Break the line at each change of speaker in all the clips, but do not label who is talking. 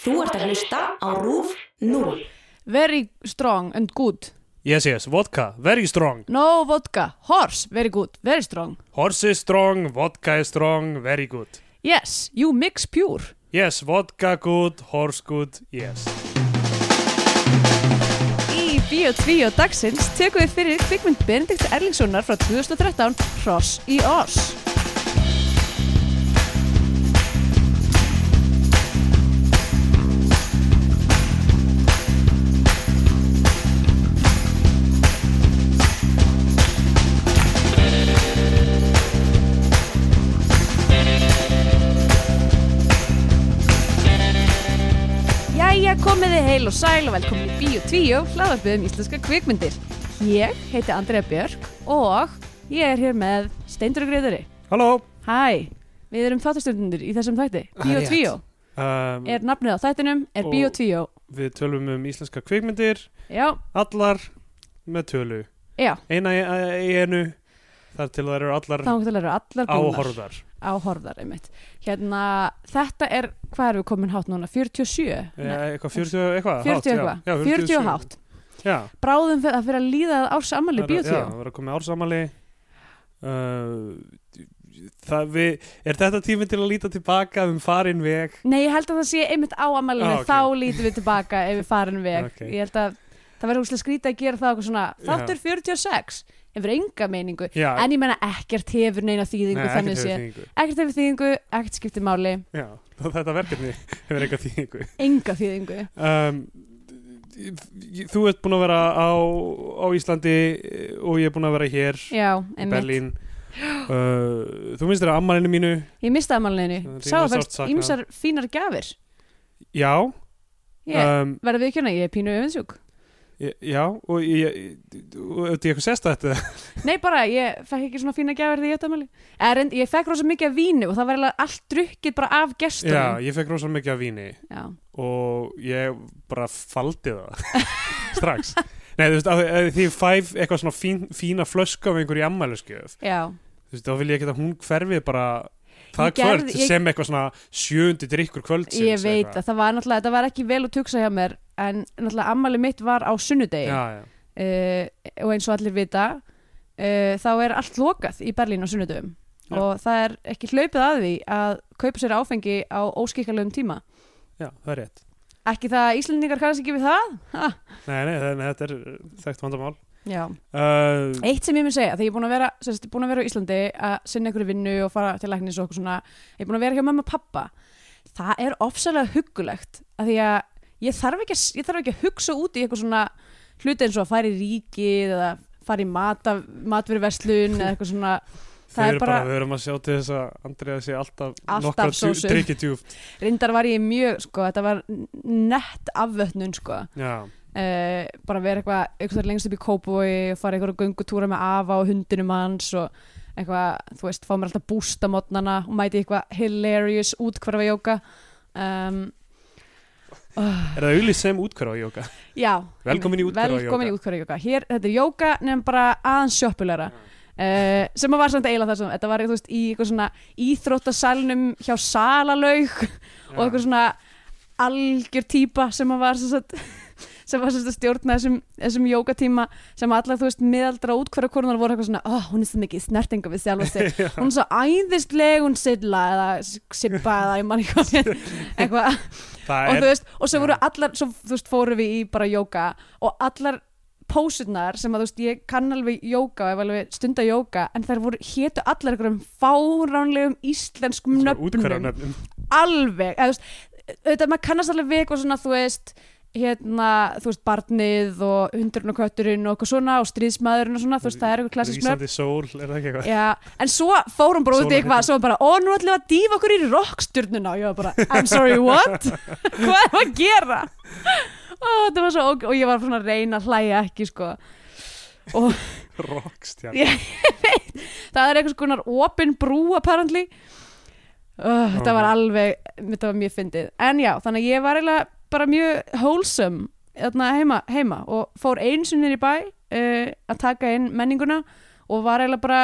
Þú ert að hlusta á RÚF 0.
Very strong and good.
Yes, yes, vodka, very strong.
No vodka. Horse, very good. Very strong.
Horse is strong, vodka is strong, very good.
Yes, you mix pure.
Yes, vodka good, horse good, yes.
Í Bíó 2 dagsins tekum við fyrir kvikmynd Benedikt Erlingssonar frá 2013 Hross í Oss. Jæja, komið þið heil og sæl og velkomin í Bíó 2, hlaðarpið um íslenska kvikmyndir. Ég heiti Andrea Björk og ég er hér með Steindur og Greðari.
Halló.
Hæ, við erum þáttastöndundur í þessum þætti. Bíó
Rétt.
2
Um,
er nafnið á þættinum, er
Og-
Bíó 2.
Við tölum um íslenska kvikmyndir,
Já,
allar með tölu.
já,
Eina í í einu, þar til þær eru allar
þá hægt að læra allar góðnar.
áhorðar.
áhorðar einmitt hérna, þetta er, hvað erum við komin hátt núna 47?
Eh,
Nei,
Eitthvað 40 eitthvað?
40
hátt, já.
eitthvað,
Já,
40 og hátt
Já.
bráðum fyrir að fyrir að líða að ásamali
Það er- Já,
bíotíu,
það er að koma ársamali. Uh, það við, er þetta tími til að líta tilbaka um farin veg?
nei ég held að það sé einmitt á amalinu,
Ah, ok.
þá lítum við tilbaka ef við farin veg,
Ok.
ég held að það verður úrslega skrítið að gera það okkur svona þáttur 46, hefur enga meiningu
Já,
en ég menna ekkert hefur neina þýðingu
nei,
þannig
ekkert
sé,
hefur þýðingu.
ekkert hefur þýðingu ekkert skiptir máli,
Já, þetta verkefni hefur eitthvað þýðingu.
enga þýðingu
Um, þú ert búin að vera á, á Íslandi eh, og ég er búin að vera hér
já,
í
einmitt
Berlín. Uh, þú minnst þér að ammalinu mínu?
ég mistaði amalinu,
Það er
sá
þín er sárt
fyrst
saknað.
ímsar fínar gjafir
Já.
ég
Um,
verða við ekki hana, ég er pínu öfundsjúk
ég- já, og ég, og þetta er eitthvað sérstætt eða?
Nei bara, ég fekk ekki svona fína gjafir því ég ættamæli Er en ég fekk rosa mikið af víni og það var eiginlega allt drukkið bara af
Já,
gestunum
ég fekk rosa mikið af víni
Já,
og ég bara faldi það strax. Nei, þú veist, af því- af því ég fæ eitthvað svona fín, fína flösku af einhverju ammæluskjöf.
já,
þú veist, þá vil ég ekki að hún hverfi bara það
Ég gerði-
kvöld
ég-
sem eitthvað svona sjöundi drikkur kvöldsins
ég veit
eitthvað.
að það var náttúrulega, það var ekki vel að tuksa hjá mér en náttúrulega ammæli mitt var á sunnudegi
já,
uh,
já.
og eins og allir vita uh, þá er allt lokað í Berlín á sunnudegum
Já.
og það er ekki hlaupið að því að kaupa sér áfengi á óskikalögum tíma
já, það er rétt
Ekki það að Íslendingar kannast ekki við það?
nei, nei, það- nei, þetta er uh, þekkt vandamál
Já
uh,
Eitt sem ég mun segja, þegar ég er búin að vera, sem sagt, búin að vera á Íslandi að sinna einhverju vinnu og fara til læknis og okkur svona, ég er búin að vera hjá mamma og pappa það er ofsalega huggulegt af því að ég þarf ekki að, ég þarf ekki að hugsa út í eitthvað svona hluti eins og að fara í ríkið eða fara í mata, matveruverslun eða eitthvað svona,
þau
það er
eru bara,
bara-
við erum að sjá til þess að Andriða sé alltaf,
Alltaf sósu.
drikki djúft
reyndar var ég mjög, sko, þetta var nett afvötnun, sko
já,
uh, bara vera eitthvað eitthvað lengst upp í kópói og fara eitthvað göngutúra með afa og hundinum hans og eitthvað, þú veist, fá mér alltaf bústa mótnana og mæti í eitthvað hilarious útkvarfa jóka um, ah.
er það auðlýst sem útkvara á jóka
Já,
Velkomin í útkvarfajóga.
Velkomin í útkvarfajóga. Hér, þetta er jóka nefn bara aðeins sjöppulegra uh, sem að var samt eiginlega það sem þetta var þú veist, í eitthvað svona íþróttasalnum hjá salalaug og eitthvað svona algjör típa sem að var sem, sagt, sem var sem sagt að stjórna þessum, þessum jókatíma sem allar þú veist miðaldra útkvarfakorunar voru eitthvað svona oh, hún er svo mikið í snertinga við sjálfa sig hún er svo æðisleg, hún silla eða sippa eða ég man ekki hvað hún hét. eitthvað
það
og
er
þú veist, og svo voru
Já.
allar svo þú veist, fórum við í bara jóka og allar pósurnar sem að þú veist ég kann alveg jóka og hef alveg stunda jóka en þær voru, hétu allar einhverjum fáránlegum íslenskum
útkvara
nöfnum
nöfnum
alveg, eða þú veist auðvitað maður kannast alveg við eitthvað svona þú veist hérna, þú veist, barnið og hundurinn og kötturinn og eitthvað svona og stríðsmaðurinn og svona, þú veist, það er eitthvað klassisk nöfn
Rísandi sól, er það ekki eitthvað
Já, en svo fórum bara út í
Sólarhringur.
eitthvað svo var bara, ó, nú ætlum við að dýfa okkur í rockstjörnuna og ég var bara, I'm sorry, what? Hvað er að gera? Ó, það var svo, og, og ég var svona að reyna að hlæja ekki, sko
rockstjarn
Ég- Það er eitthvað skonar open brú, apparently uh, Þetta var alveg, þetta var mjög fyndið En já, þannig að ég var eiginlega bara mjög wholesome þarna heima, heima og fór einsunir í bæ uh, að taka inn menninguna og var eiginlega bara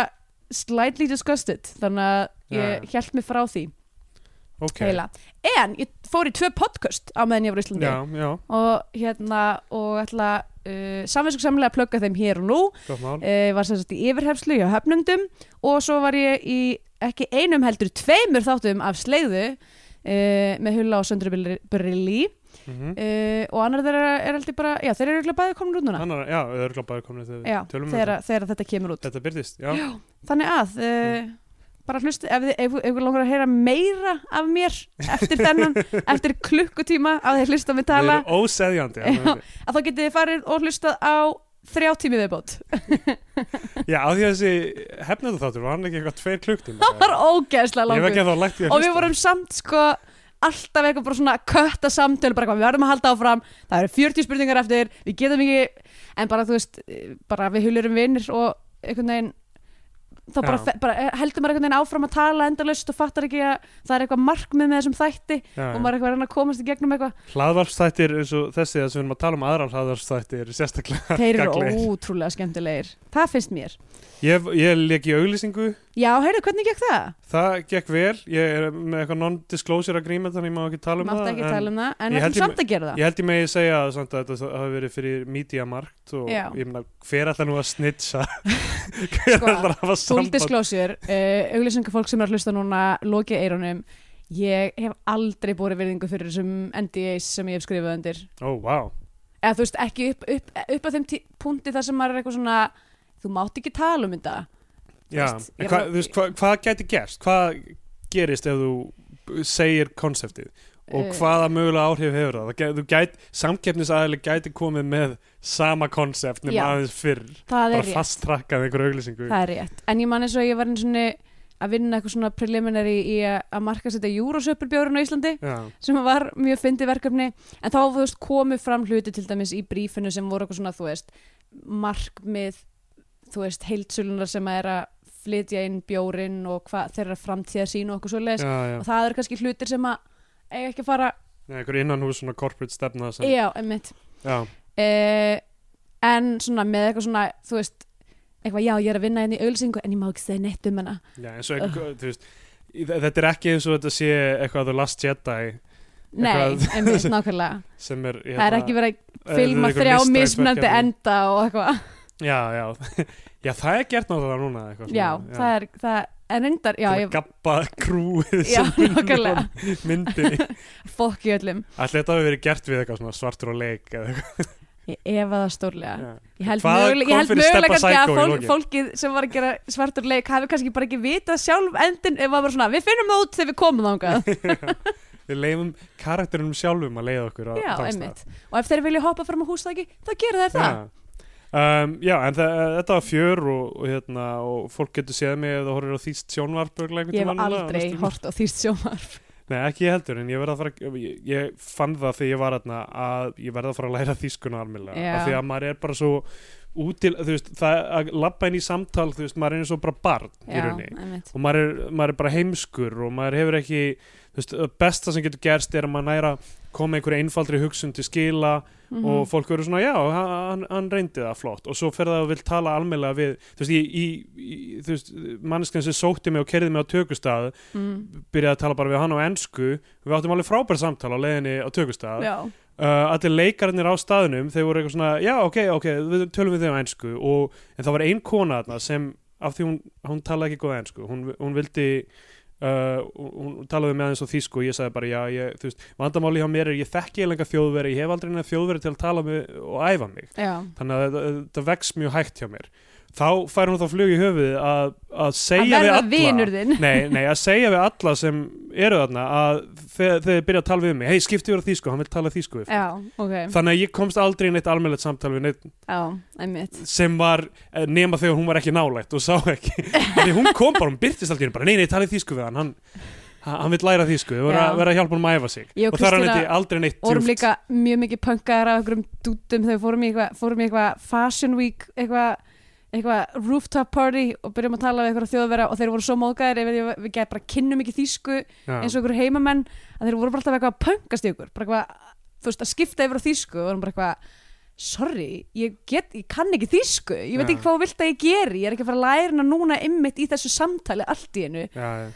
slightly disgusted þannig að
Já,
ég
já.
hjælt mig frá því
ok
eiginlega en ég fór í tvö podcast á meðan ég var í Íslandi
Já, já,
og hérna og ætla uh, samvinskusamlega að plugga þeim hér og nú
gott mál
uh, var sem sagt í yfirhefslu hjá höfnumdum og svo var ég í ekki einum heldur tveimur þáttum af sleiðu uh, með Hulla og Söndru Brilli
Mhm.
uh, og annar þeirra er heldur bara já þeir eru örugglega bæði komin út núna
Annar, já, þau eru glápaður komin
já,
þegar við tölum um
þegar, þegar þetta kemur út
þetta Þetta byrðist, já, já.
þannig að
Mm.
uh, bara hlustu ef þið ef- ef þið langar að heyra meira af mér eftir þennan eftir klukkutíma að þið hlusta mig
Þau
tala
eru óseðjandi já,
Já. að þá getið þið farið og hlustað á þrjá tími viðbót
já, á því að þessi hefnendu þáttur var hann ekki eitthvað tveir klukktíma
það var ógeðslega
Ég hef
langur
ekki að þá lægt ég
og við vorum samt sko alltaf eitthvað bara svona kötta samtöl bara eitthvað, við verðum að halda áfram, það eru 40 spurningar eftir við getum ekki, en bara þú veist eh, bara við hulurum vinnir og einhvern veginn þá bara,
Já.
fe- bara eh, heldur maður einhvern veginn áfram að tala endalaust og fattar ekki að það er eitthvað markmið með þessum þætti og maður er eitthvað að reyna að komast í gegnum eitthvað
Hlaðvarpstættir eins og þessi þess að við erum að tala um aðra hlaðvarpstættir sérstaklega
þeir eru
gagnlegir.
ótrúlega skemmtilegir, það finnst mér
Ég, ég leik í auglýsingu,
já, heyrðu, hvernig gekk það?
það gekk vel Ég er með eitthvað non-disclosure agreement þannig ég má ekki tala um
Mátt
það
ekki
en
tala um það, en
ég
við
held
ætlum
ég-
samt að gera það
Ég held ég megi segja að samt að þetta hafi verið fyrir mediamarkt og
Já.
ég meina hver ætlar nú að snitsa hver
Sko,
ætlar að hafa
Full
samband
disclosure, uh, auglýsingar fólk sem er að hlusta núna lokið eirunum ég hef aldrei borið virðingu fyrir þessum NDAs sem ég hef skrifað undir
Ó, vá,
eða þú veist ekki upp, upp, upp að þeim tí- punkti þar sem maður er eitthvað svona þú mátt ekki tala um þetta
já
veist,
En
ég
hva,
var-
þú veist, hva, Hvað gæti gerst? Hvað gerist ef þú b- segir konseptið og
Eh.
hvaða mögulega áhrif hefur það? það gæ, þú gæt, samkeppnisæðileg gæti komið með sama konsept nema
Já.
aðeins fyrr
það
bara
er rétt,
fasttrakkað einhverju auglýsingu
það er rétt en ég man eins og ég var eins og að vinna eitthvað svona preliminary í að- að marka setja júrósöpurbjórun á Íslandi
Já,
sem var mjög fyndið verkefni en þá þú veist, komu fram hluti til dæmis í brífinu sem voru eitthvað svona þú veist, markmið þú veist, heildsölunar sem er að flytja inn bjórin og hvað þeirra framtíða sín og okkur svo
já, já
og það eru kannski hlutir sem að eiga ekki að fara,
Nei, einhverju innan hús svona corporate stefna sem,
já, einmitt
já,
uh, en svona með eitthvað svona þú veist, eitthvað, já, ég er að vinna inn í ölsingu en ég má ekki segja neitt um hana
já, eins og einhver, þú veist í- Þetta er ekki eins og þetta sé eitthvað The Last Jedi
nei,
Eitthvað-
einmitt, nákvæmlega
sem er
það er ekki verið að filma þrjá mismunandi enda og eitthvað
Já, já, já, það er gert náttúrulega núna eitthvað svona,
já, það er, það en reyndar já,
Svona
ég,
gabba krúið
já, nákvæmlega,
myndi
fokk í öllum
Allir þetta hafi verið gert við eitthvað svona svartur og leik eða eitthvað
ég efa það stórlega
Já.
ég held
Hvað
mögulega,
kom
ég held
fyrir
mögulega
Steppa
kannski að
Psycho í
fólk,
lokin?
fólkið sem var að gera svartur leik hafi kannski bara ekki vitað sjálf endin ef það var svona, við finnum það út þegar við komum þangað
Við leifum karakterunum sjálfum að leiða okkur á
já,
þann stað.
einmitt, og ef þeir vilja hoppa fram á húsþaki þá gera þeir það
Já. Um, já, en þa þetta var fjör og, og, hérna, og fólk getur séð mig ef það horfir á þýst sjónvarp örugglega einhvern
ég hef
tímann núna á
aldrei
næstu-
hort á þýst sjómarf
Nei, ekki ég heldur, en ég verð að fara ég, ég fann það þegar ég var hérna að ég verð að fara að læra þýskuna almennilega
Já.
af því að maður er bara svo útil þú veist, það að labba inn í samtal þú veist, maður er eins og bara barn í
já,
rauninni
einmitt,
og maður er, maður er bara heimskur og maður hefur ekki, þú veist, það besta sem getur gerst er að maður næra koma einhverju einfaldri hugsun til skila
Mhm.
og fólk verður svona, já, hann, hann reyndi það flott og svo fer það og vil tala almennilega við þú veist, ég, ég, ég, þú veist manneskan sem sótti mig og kerði mig á tökustað
mm,
byrjaði að tala bara við hann á ennsku við áttum alveg frábær samtala á leiðinni á tökustaf uh,
já,
allir leikarinnir á staðnum þeir voru eitthvað svona, já ok, ok við tölum við þeim á ennsku og, en það var ein kona þarna sem af því hún, hún talaði ekki góða ennsku, hún, hún vildi Uh, hún talaði með aðeins á þýsku og ég sagði bara já, ég, þú veist, vandamáli hjá mér er ég þekki eilenga þjóðveri, ég hef aldrei neina þjóðveri til að tala með og æfa mig
já,
þannig að þetta- þetta vex mjög hægt hjá mér þá fær hún þá flug í höfuðið að, að segja
að
við
verða
alla
vinur þinn
nei, nei, að segja við alla sem eru þarna að þegar þegar þið byrja að tala við mig hei, skipti yfir á þýsku, hann vil tala þýsku við
já, ok,
þannig að ég komst aldrei í neitt almennlegt samtal við neitt
já, einmitt
sem var eh, nema þegar hún var ekki nálægt og sá ekki, því hún kom bara hún byrtist aldrei, bara nei, nei, talið þýsku við hann hann, hann vil læra þýsku, við verðum
Já.
að, vera að hjálpa honum að æfa sig
Ég og
og þar hann
Kristína
eitthvað aldrei neitt
vorum
djúpt.
líka mjög mikið punkaðar af einhverjum dútum þegar við fórum í eitthvað fórum í eitthvað fashion week eitthvað eitthvað rooftop party og byrjum að tala við eitthvað þjóðverða og þeir voru svo móðgæðir ef við, við gæði bara kynnum ekki þýsku
Já.
eins og einhverju heimamenn að þeir voru bara alltaf eitthvað að punkast í okkur bara eitthvað, þú veist, að skipta yfir á þýsku og vorum bara eitthvað sorry, ég, get, ég kann ekki þýsku ég veit
Já.
ekki hvað þú vilt að ég geri ég er ekki að fara að læra hana núna ymmit í þessu samtali allt í einu
já, já.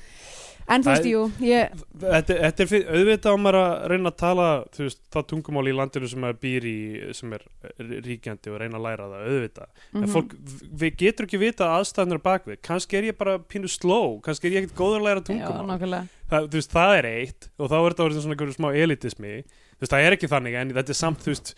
en þú veist,
Það-
jú, ég
Þetta, þetta er fyrir, auðvitað á maður að reyna að tala þú veist, það tungumál í landinu sem maður býr í sem er ríkjandi og reyna að læra það auðvitað, en
mhm.
fólk við getur ekki vita aðstæðnir bakvið kannski er ég bara pínu slow, kannski er ég ekkert góður að læra
Mhm. já,
tungumál,
nákvæmlega
það, þú veist, það er eitt og þá er þetta orðin svona einhverjum smá elitismi þú veist, það er ekki þannig, en þetta er samt þú veist,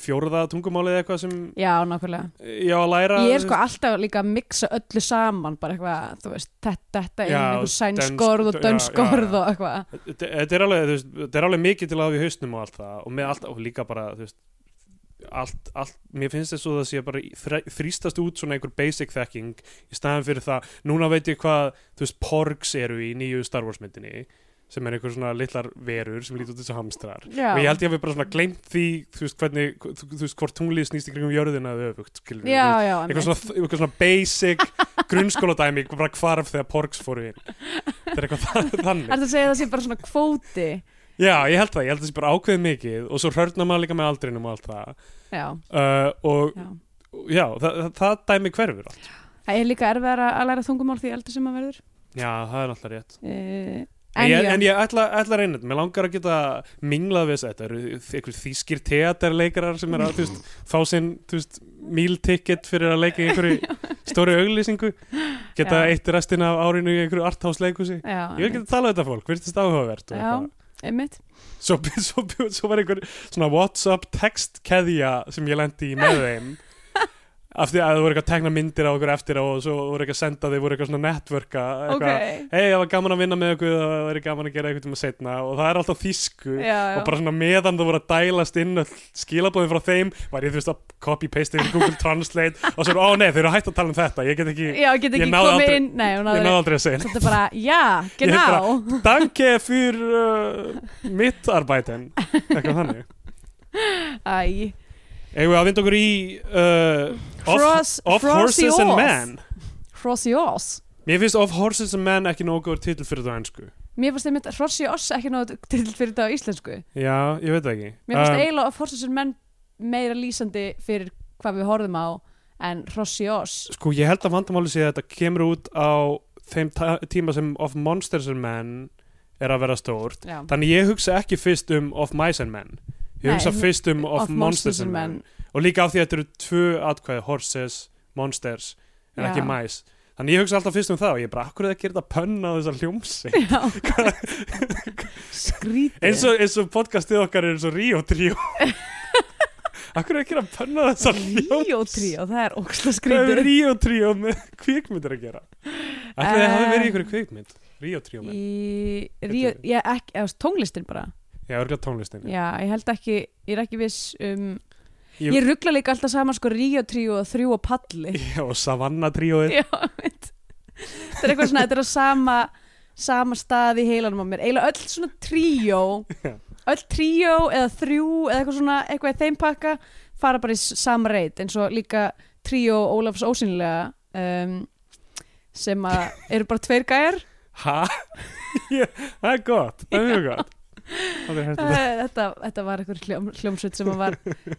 fjórða tungumálið eða eitthvað sem
já, nákvæmlega
ég á að læra
Ég er
þú
sko alltaf líka að mixa öllu saman bara eitthvað, þú veist, þetta, þetta er
Já,
einhver
dönsk-
sænskorð og
já, já,
dönskorð
já.
og eitthvað
þetta þetta er alveg, þú veist, þetta er alveg mikið til að hafa í hausnum og allt það og, með allt, og líka bara þú veist, allt, allt, mér finnst þess að það sé bara í- þre- þrýstast út svona einhver basic þekking í staðan fyrir það, núna veit ég hvað þú veist, porgs eru í nýju Star Wars myndinni sem er einhver svona litlar verur sem lítur út þessu hamstrar
Já,
og ég held ég að við bara svona gleymt því þú veist, hvernig, þú, þú veist, hvort tunglið snýst í kringum jörðina eða öfugt, skilur
já, já
eitthvað
einmitt.
svona, eitthvað svona basic grunnskóladæmi, bara hvarf þegar porgs fóru inn það er eitthvað þa- þannig
Ertu að segja að það sé bara svona kvóti
Já, ég held það, ég held það sé bara ákveðið mikið og svo hörna maður líka með aldrinum og allt það
Já,
uh, og
já
já, það, það, það dæmi hverfur allt
Það er líka erfiðar að læra tungumál því eldri sem maður verður
Já, það er alltaf rétt
uh, En,
En ég,
já.
en ég ætla, ætla að reyna þetta, mér langar að geta minglað við þess að þetta eru einhver þýskir teaterleikarar sem er að þú veist, fá sinn þú veist, meal ticket fyrir að leika í einhverju stóri auglýsingu geta
Já.
eitt restina af árinu í einhverju arthouse-leikusi
já,
Ég vil
einmitt.
geta talað við þetta fólk, virtist áhugavert og
Já,
eitthvað.
einmitt
svo, svo, svo var einhver svona Whatsapp textkeðja sem ég lendi í með þeim af því að það voru eitthvað að tekna myndir á okkur eftir á og svo voru eitthvað að senda þeir voru eitthvað svona networka
Ok,
eitthvað, hei það var gaman að vinna með okkur það var gaman að gera eitthvað tíma setna og það er alltaf þýsku
já, já
og bara svona meðan það voru að dælast inn öll skilabóðin frá þeim var ég þú veist að copy-paste yfir Google Translate og svo, ó nei, þeir eru hægt að tala um þetta ég get ekki,
Já, ég get
Ég
ekki
náði
komið
aldrei-
inn Nei, hún
ég
náður
náði aldrei að segja neitt.
Þetta er bara, já, genau
Danke für uh, mitt arbeiten eitthvað þannig
Æ,
Eigum við að vinda okkur í uh,
Cross-
Of, of
cross
Horses
the
and
off.
Men
hrossi oss
Mér finnst Of Horses and Men ekki nógu góður titill fyrir það ennsku
Mér fannst einmitt hrossi oss ekki náðu til fyrir þetta á íslensku
Já, ég veit það ekki
Mér finnst
Um,
eiginlega að Forsasen menn meira lýsandi fyrir hvað við horfum á en Rossi Oss
Sko, ég held að vandamáli sé að þetta kemur út á þeim ta- tíma sem Of Monsters and Men er að vera stórt
já.
Þannig ég hugsa ekki fyrst um Of Mice and Men Ég
Nei,
hugsa
þú-
fyrst um Of, Monsters, and Men. Og líka af því að þetta eru tvö atkvæði Horses, Monsters en
Já.
ekki Mice Þannig ég hugsa alltaf fyrst um það og ég bara, akkur er það að gera þetta pönna á þessa hljómsi
Já. Skrítið
eins og, eins og podcastið okkar er eins og Ríó tríó Akkur er ekki að panna þessar ljós
Ríó tríó, það er óksla
Hvað er
skrítið
Ríó tríó með kvikmyndir að gera Ætli það hafi
Eh.
verið í einhverju kvikmynd Ríó tríó með
Í Ríó,
Þetta-
ég ekki, eða tónlistin bara
Já, örgulega tónlistin
Já, ég held ekki, ég er ekki viss um
Ég-
Ég, ruggla líka alltaf saman sko Ríó tríó og þrjú og palli
Já, og Savanna tríóið
Já, veit Þetta er eitthvað svona, þetta er á sama sama stað í heilanum á mér eiginlega öll svona tríó
Já.
öll tríó eða þrjú eða eitthvað svona, eitthvað í þeim pakka fara bara í s- sama reit eins og líka tríó Ólafs ósynlega um, sem að eru bara tveir gæjar
Ha? Ég- Það er gott, það er mjög gott Það er hægt að
Eh, þetta, þetta var eitthvað hljóm, hljómsveit sem að var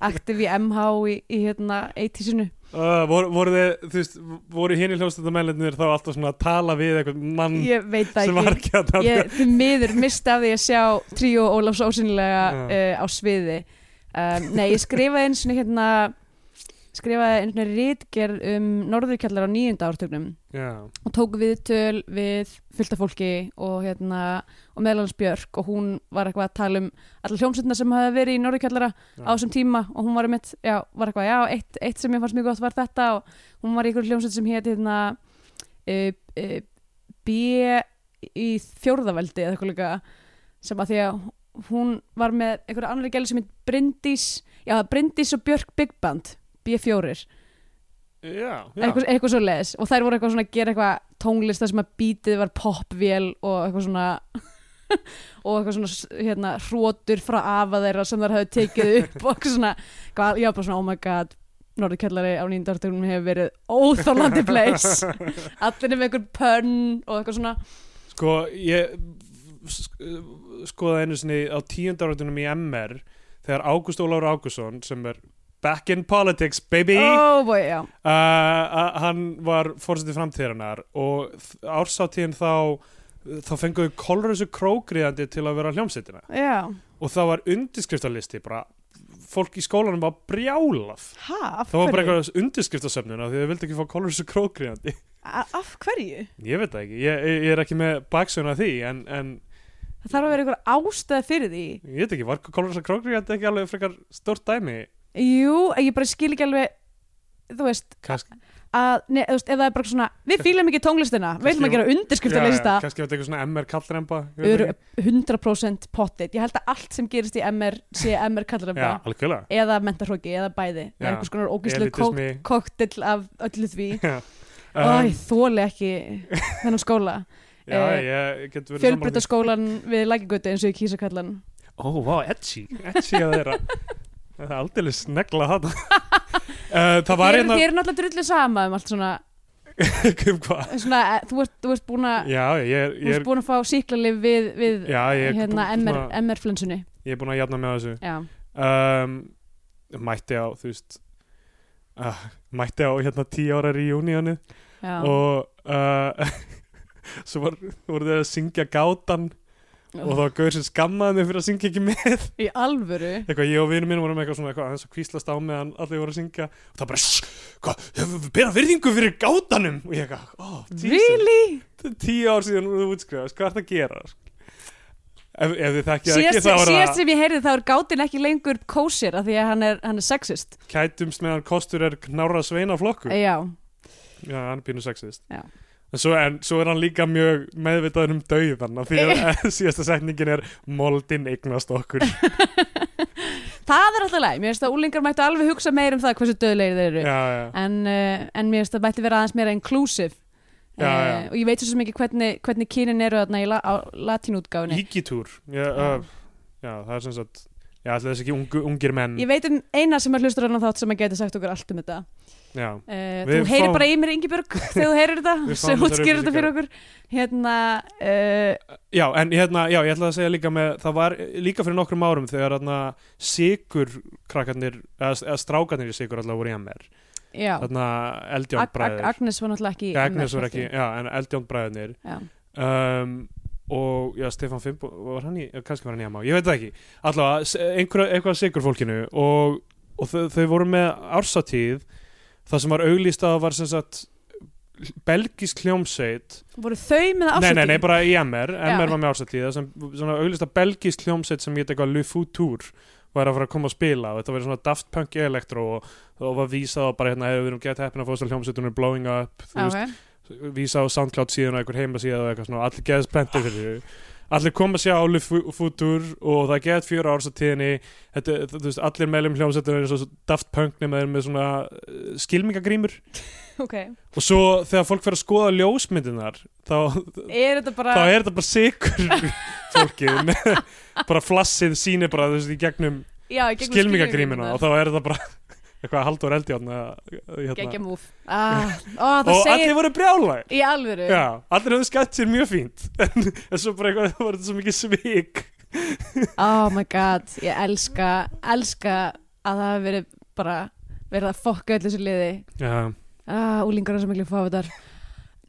aktiv í MH í, í hérna 80-sinu
Uh, voru, voru þið, þú veist, voru hinn í hljómsveitamælinir þá alltaf svona að tala við einhvern mann
ég veit það
Mm. sem
ekki
var ekki að
ég því miður misti af því að sjá tríó Ólafs ósynlega
Já.
uh, á sviði um, nei, ég skrifaði einu svona hérna skrifaði einu svona rítgerð um norðurkjallar á nýjunda ártögnum
Já,
og tók viðtöl við fullta fólki og hérna og meðlans Björk og hún var eitthvað að tala um alla hljómsveitna sem hafa verið í norðurkjallara
já.
á þessum tíma og hún var einmitt, já, var eitthvað, já, eitt, eitt sem ég fannst mjög gott var þetta og hún var í einhverjum hljómsveit sem hétt hérna uh, uh, B í fjórðaveldi eða eitthvað líka sem að því að hún var með einhverja annari gæli sem heit Bryndís, já, Bryndís og Björk Big Band, B4
já, já.
eitthvað, eitthvað svo leðis og þær voru eitthvað svona að gera eitthvað tónlist þar sem að bítið var popvél og eitthvað svona og eitthvað svona s- hérna hrótur frá afa þeirra sem þær hafði tekið upp og eitthvað svona, hvað, já bara svona oh my god Norðurkjallari á nýndartökunum hefur verið óþálandi place allir með einhver pönn og eitthvað svona
Sko, ég sk- skoðaði einu sinni á tíundaröndunum í MR þegar Ágúst Ólafur Ágússon sem er back in politics baby uh,
oh boy, já,
a- hann var fórsetið framtíðarinnar og þ- árshátíðin þá þá fenguðu kolrösu krókriðandi til að vera hljómsettina
já,
og það var undirskriftalisti bara fólk í skólanum var brjálað
ha, af
það var bara
hverju
eitthvað undirskriftasöfnun af því þau vildi ekki fá kolrösu krókriðandi
A- af hverju,
ég veit það ekki, ég, ég- ég er ekki með baksögn að því en, en
það þarf að vera einhver ástæð fyrir því
ég veit ekki, var kolrösa krókriðandi ekki alveg frekar stórt dæmi
jú, ég bara skil ekki alveg þú veist,
kannski,
að, nei, þú veist, ef það er bara svona við fýlum ekki tónlistina, við viljum að gera undirskriftalista
kannski var þetta eitthvað svona MR kallremba ég veit
eru
ekki.
100% pottit ég held að allt sem gerist í MR sé MR kallar af
já,
það
algjörlega
eða mentarhróki, eða bæði það
Já.
er einhvers konar ógíslu kók
elitismi
koktill af öllu því
um,
Æ, þóli ekki þennan skóla
já,
eh,
ég get verið sammála því.
fjölbrytaskólan við lækigötu eins og ég kýsa kallan
Ó, vá, edgy Edgy að þeirra Það er aldrei snegla þarna uh, Það
þér
var
þér
einna
er náttúrulega drullu sama um allt svona,
um hvað
svona eh, þú ert, þú ert búin að
Já, ég er,
Þú
ég
ert
er,
búin að fá síklarlif við, við
já, ég er
hérna,
bú-
MR,
svona-
MR flensunni
Ég er búin að jafna með þessu
Já,
um, Mætti á, þú veist uh, Mætti á hérna tíu ára reunionu
já.
og uh, svo var, voru þeir að syngja gátan og það var gaur sem skammaði mig fyrir að syngja ekki með
Í alvöru
eitthvað ég og vinur minn vorum eitthvað svona eitthvað aðeins að kvíslast á meðan allir voru að syngja og það bara "Sss, hvað, hefur bera virðingu fyrir gátanum og ég eitthvað, ó, oh, Jesus
Really?
þetta er tíu ár síðan þú útskriðast, hvað er það að gera sko?" ef, ef þið þekkja ekki
Síðast
þá er
síðast
það
sem ég heyrði þá er gátin ekki lengur kósir af því að hann er, hann er sexist Eh,
kætumst meðan kostur er knára sveina flokkur
Já,
já, hann er pínu sexist
Já.
En svo, en svo er hann líka mjög meðvitaður um dauðan af því að síðasta setningin er moldin eignast okkur já,
það er alltaf læg Mér finnst að úlingar mættu alveg hugsa meir um það hversu döðlegir þeir eru
já.
en, uh, en mér finnst að mætti vera aðeins meira inclusive Eh,
Já, já.
og ég veit svo sem ekki hvernig, hvernig kynin eru þarna í la, á latínútgáfunni
ígitúr já, uh, já, það er sem sagt já, ætli þess ekki ungu, ungir menn
Ég veit um eina sem er hlustur annan þátt sem að geti sagt okkur allt um þetta
Já,
uh, Þú
Við
heyrir
fáum-
bara í mér Ingibjörg þegar þú heyrir þetta
Við
sem
fáum þessar
útskýrir þetta fyrir okkur Hérna, uh,
já en hérna, já, ég ætla að segja líka með, það var líka fyrir nokkrum árum þegar þarna sigur krakkarnir, eða, eða strákarnir í sigur allavega voru í MR,
já
þarna
Ag Ag
eldjónbræður,
Agnes var náttúrulega ekki í MR
Agnes voru
þætti.
ekki, já, en eldjónbræðurnir
Já.
um, og já, Stefan Fimbo, var hann í, kannski var hann í MR, ég veit það ekki, allavega s- einhverja, eitthvað sigur fólkinu og, og þau, þau voru með ársatíð það sem var auglýst að það var sem sagt belgisk hljómsveit
Voru þau með
Nei,
afsökun?
nei, nei, bara í MR
Já.
MR var með ásættíð sem svona auglista belgísk hljómsveit sem geta eitthvað Le Futur var að fara að koma að spila og þetta var svona Daft Punk Electro og, og var vísað á bara hérna hefur við erum gett heppin að fóðst að hljómsveitunum Blowing Up þú veist,
Ok.
vísað á SoundCloud síðan og einhver heimasíða og eitthvað svona allir geðast pentir fyrir þau allir koma að sjá á Le Fu- Futur og það er gett fjöra árs að tíðinni þetta, þú veist, allir meðlum hljómsveitunum er svo Daft Punk nema þeir með svona eh, skylmingagrímur
ok
og svo þegar fólk fer að skoða ljósmyndinar þá,
Er þetta bara
þá er þetta bara sikur fólkið með bara flassið síni bara þú veist í gegnum
Já, í gegnum
skilmingagrímina og þá er þetta bara eitthvað Halldór Eldjárn eða,
Gekkja
hérna.
múf ah, ó, Það
og
segir
allir voru brjálæg
í alvöru
Já, allir höfðu skætt sér mjög fínt en, en svo bara eitthvað, það var þetta svo mikið svik
Oh my god, ég elska elska að það hafi verið bara verið að fokka öllu þessu liði
Já,
ah, Úlingar er svo miklu fávitar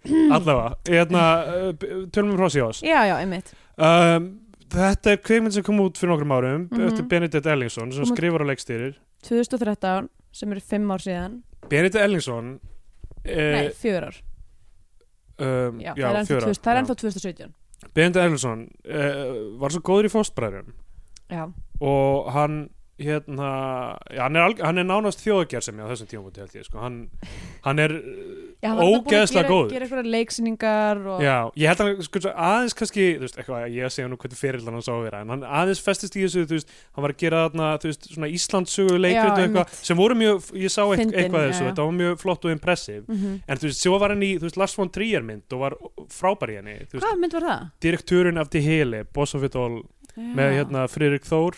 Mm. allavega Hérna, uh, b- tölum við hrósi á oss
Já, já, einmitt
um, Þetta er kveikmynd sem kom út fyrir nokkrum árum
Mhm.
eftir Benedikt Ellingsson sem
Kom út-
skrifar og leikstýrir
2013 sem eru fimm ár síðan
Benedikt Ellingsson
Nei,
eh,
fjör ár
um,
Já, það er ennþá
fjögur ár,
2000 það er
já.
ennþá 2017
Benedikt Erlundsson uh, var svo góður í fóstbræðum
Já,
og hann hérna, já, hann, er alg, hann er nánast þjóðgerðsemi á þessum tímum held ég sko. hann, hann er,
já hann var þarna búinn að
Ógeðslega
gera,
góður.
gera eitthvað leiksýningar og
já, ég held hann sko, svo aðeins kannski, þú veist, eitthvað ég segja nú hvernig fyrirlan hann sá að vera, en hann aðeins festist í þessu, þú veist, hann var að gera þarna þú veist, svona Íslandsögu
Já,
leikrit
einmitt.
eitthvað, sem voru mjög, ég sá eit,
Fyndin,
eitthvað af
já,
þessu,
já.
þetta var mjög flott og impressiv
Mhm.
en þú veist, svo var hann í, þú veist, Lars von Trier mynd og var frábær í henni, þú veist,
Hvað mynd var það?
direktúrin af Die Hele Boss of It All,
Já.
með hérna Friðrik Þór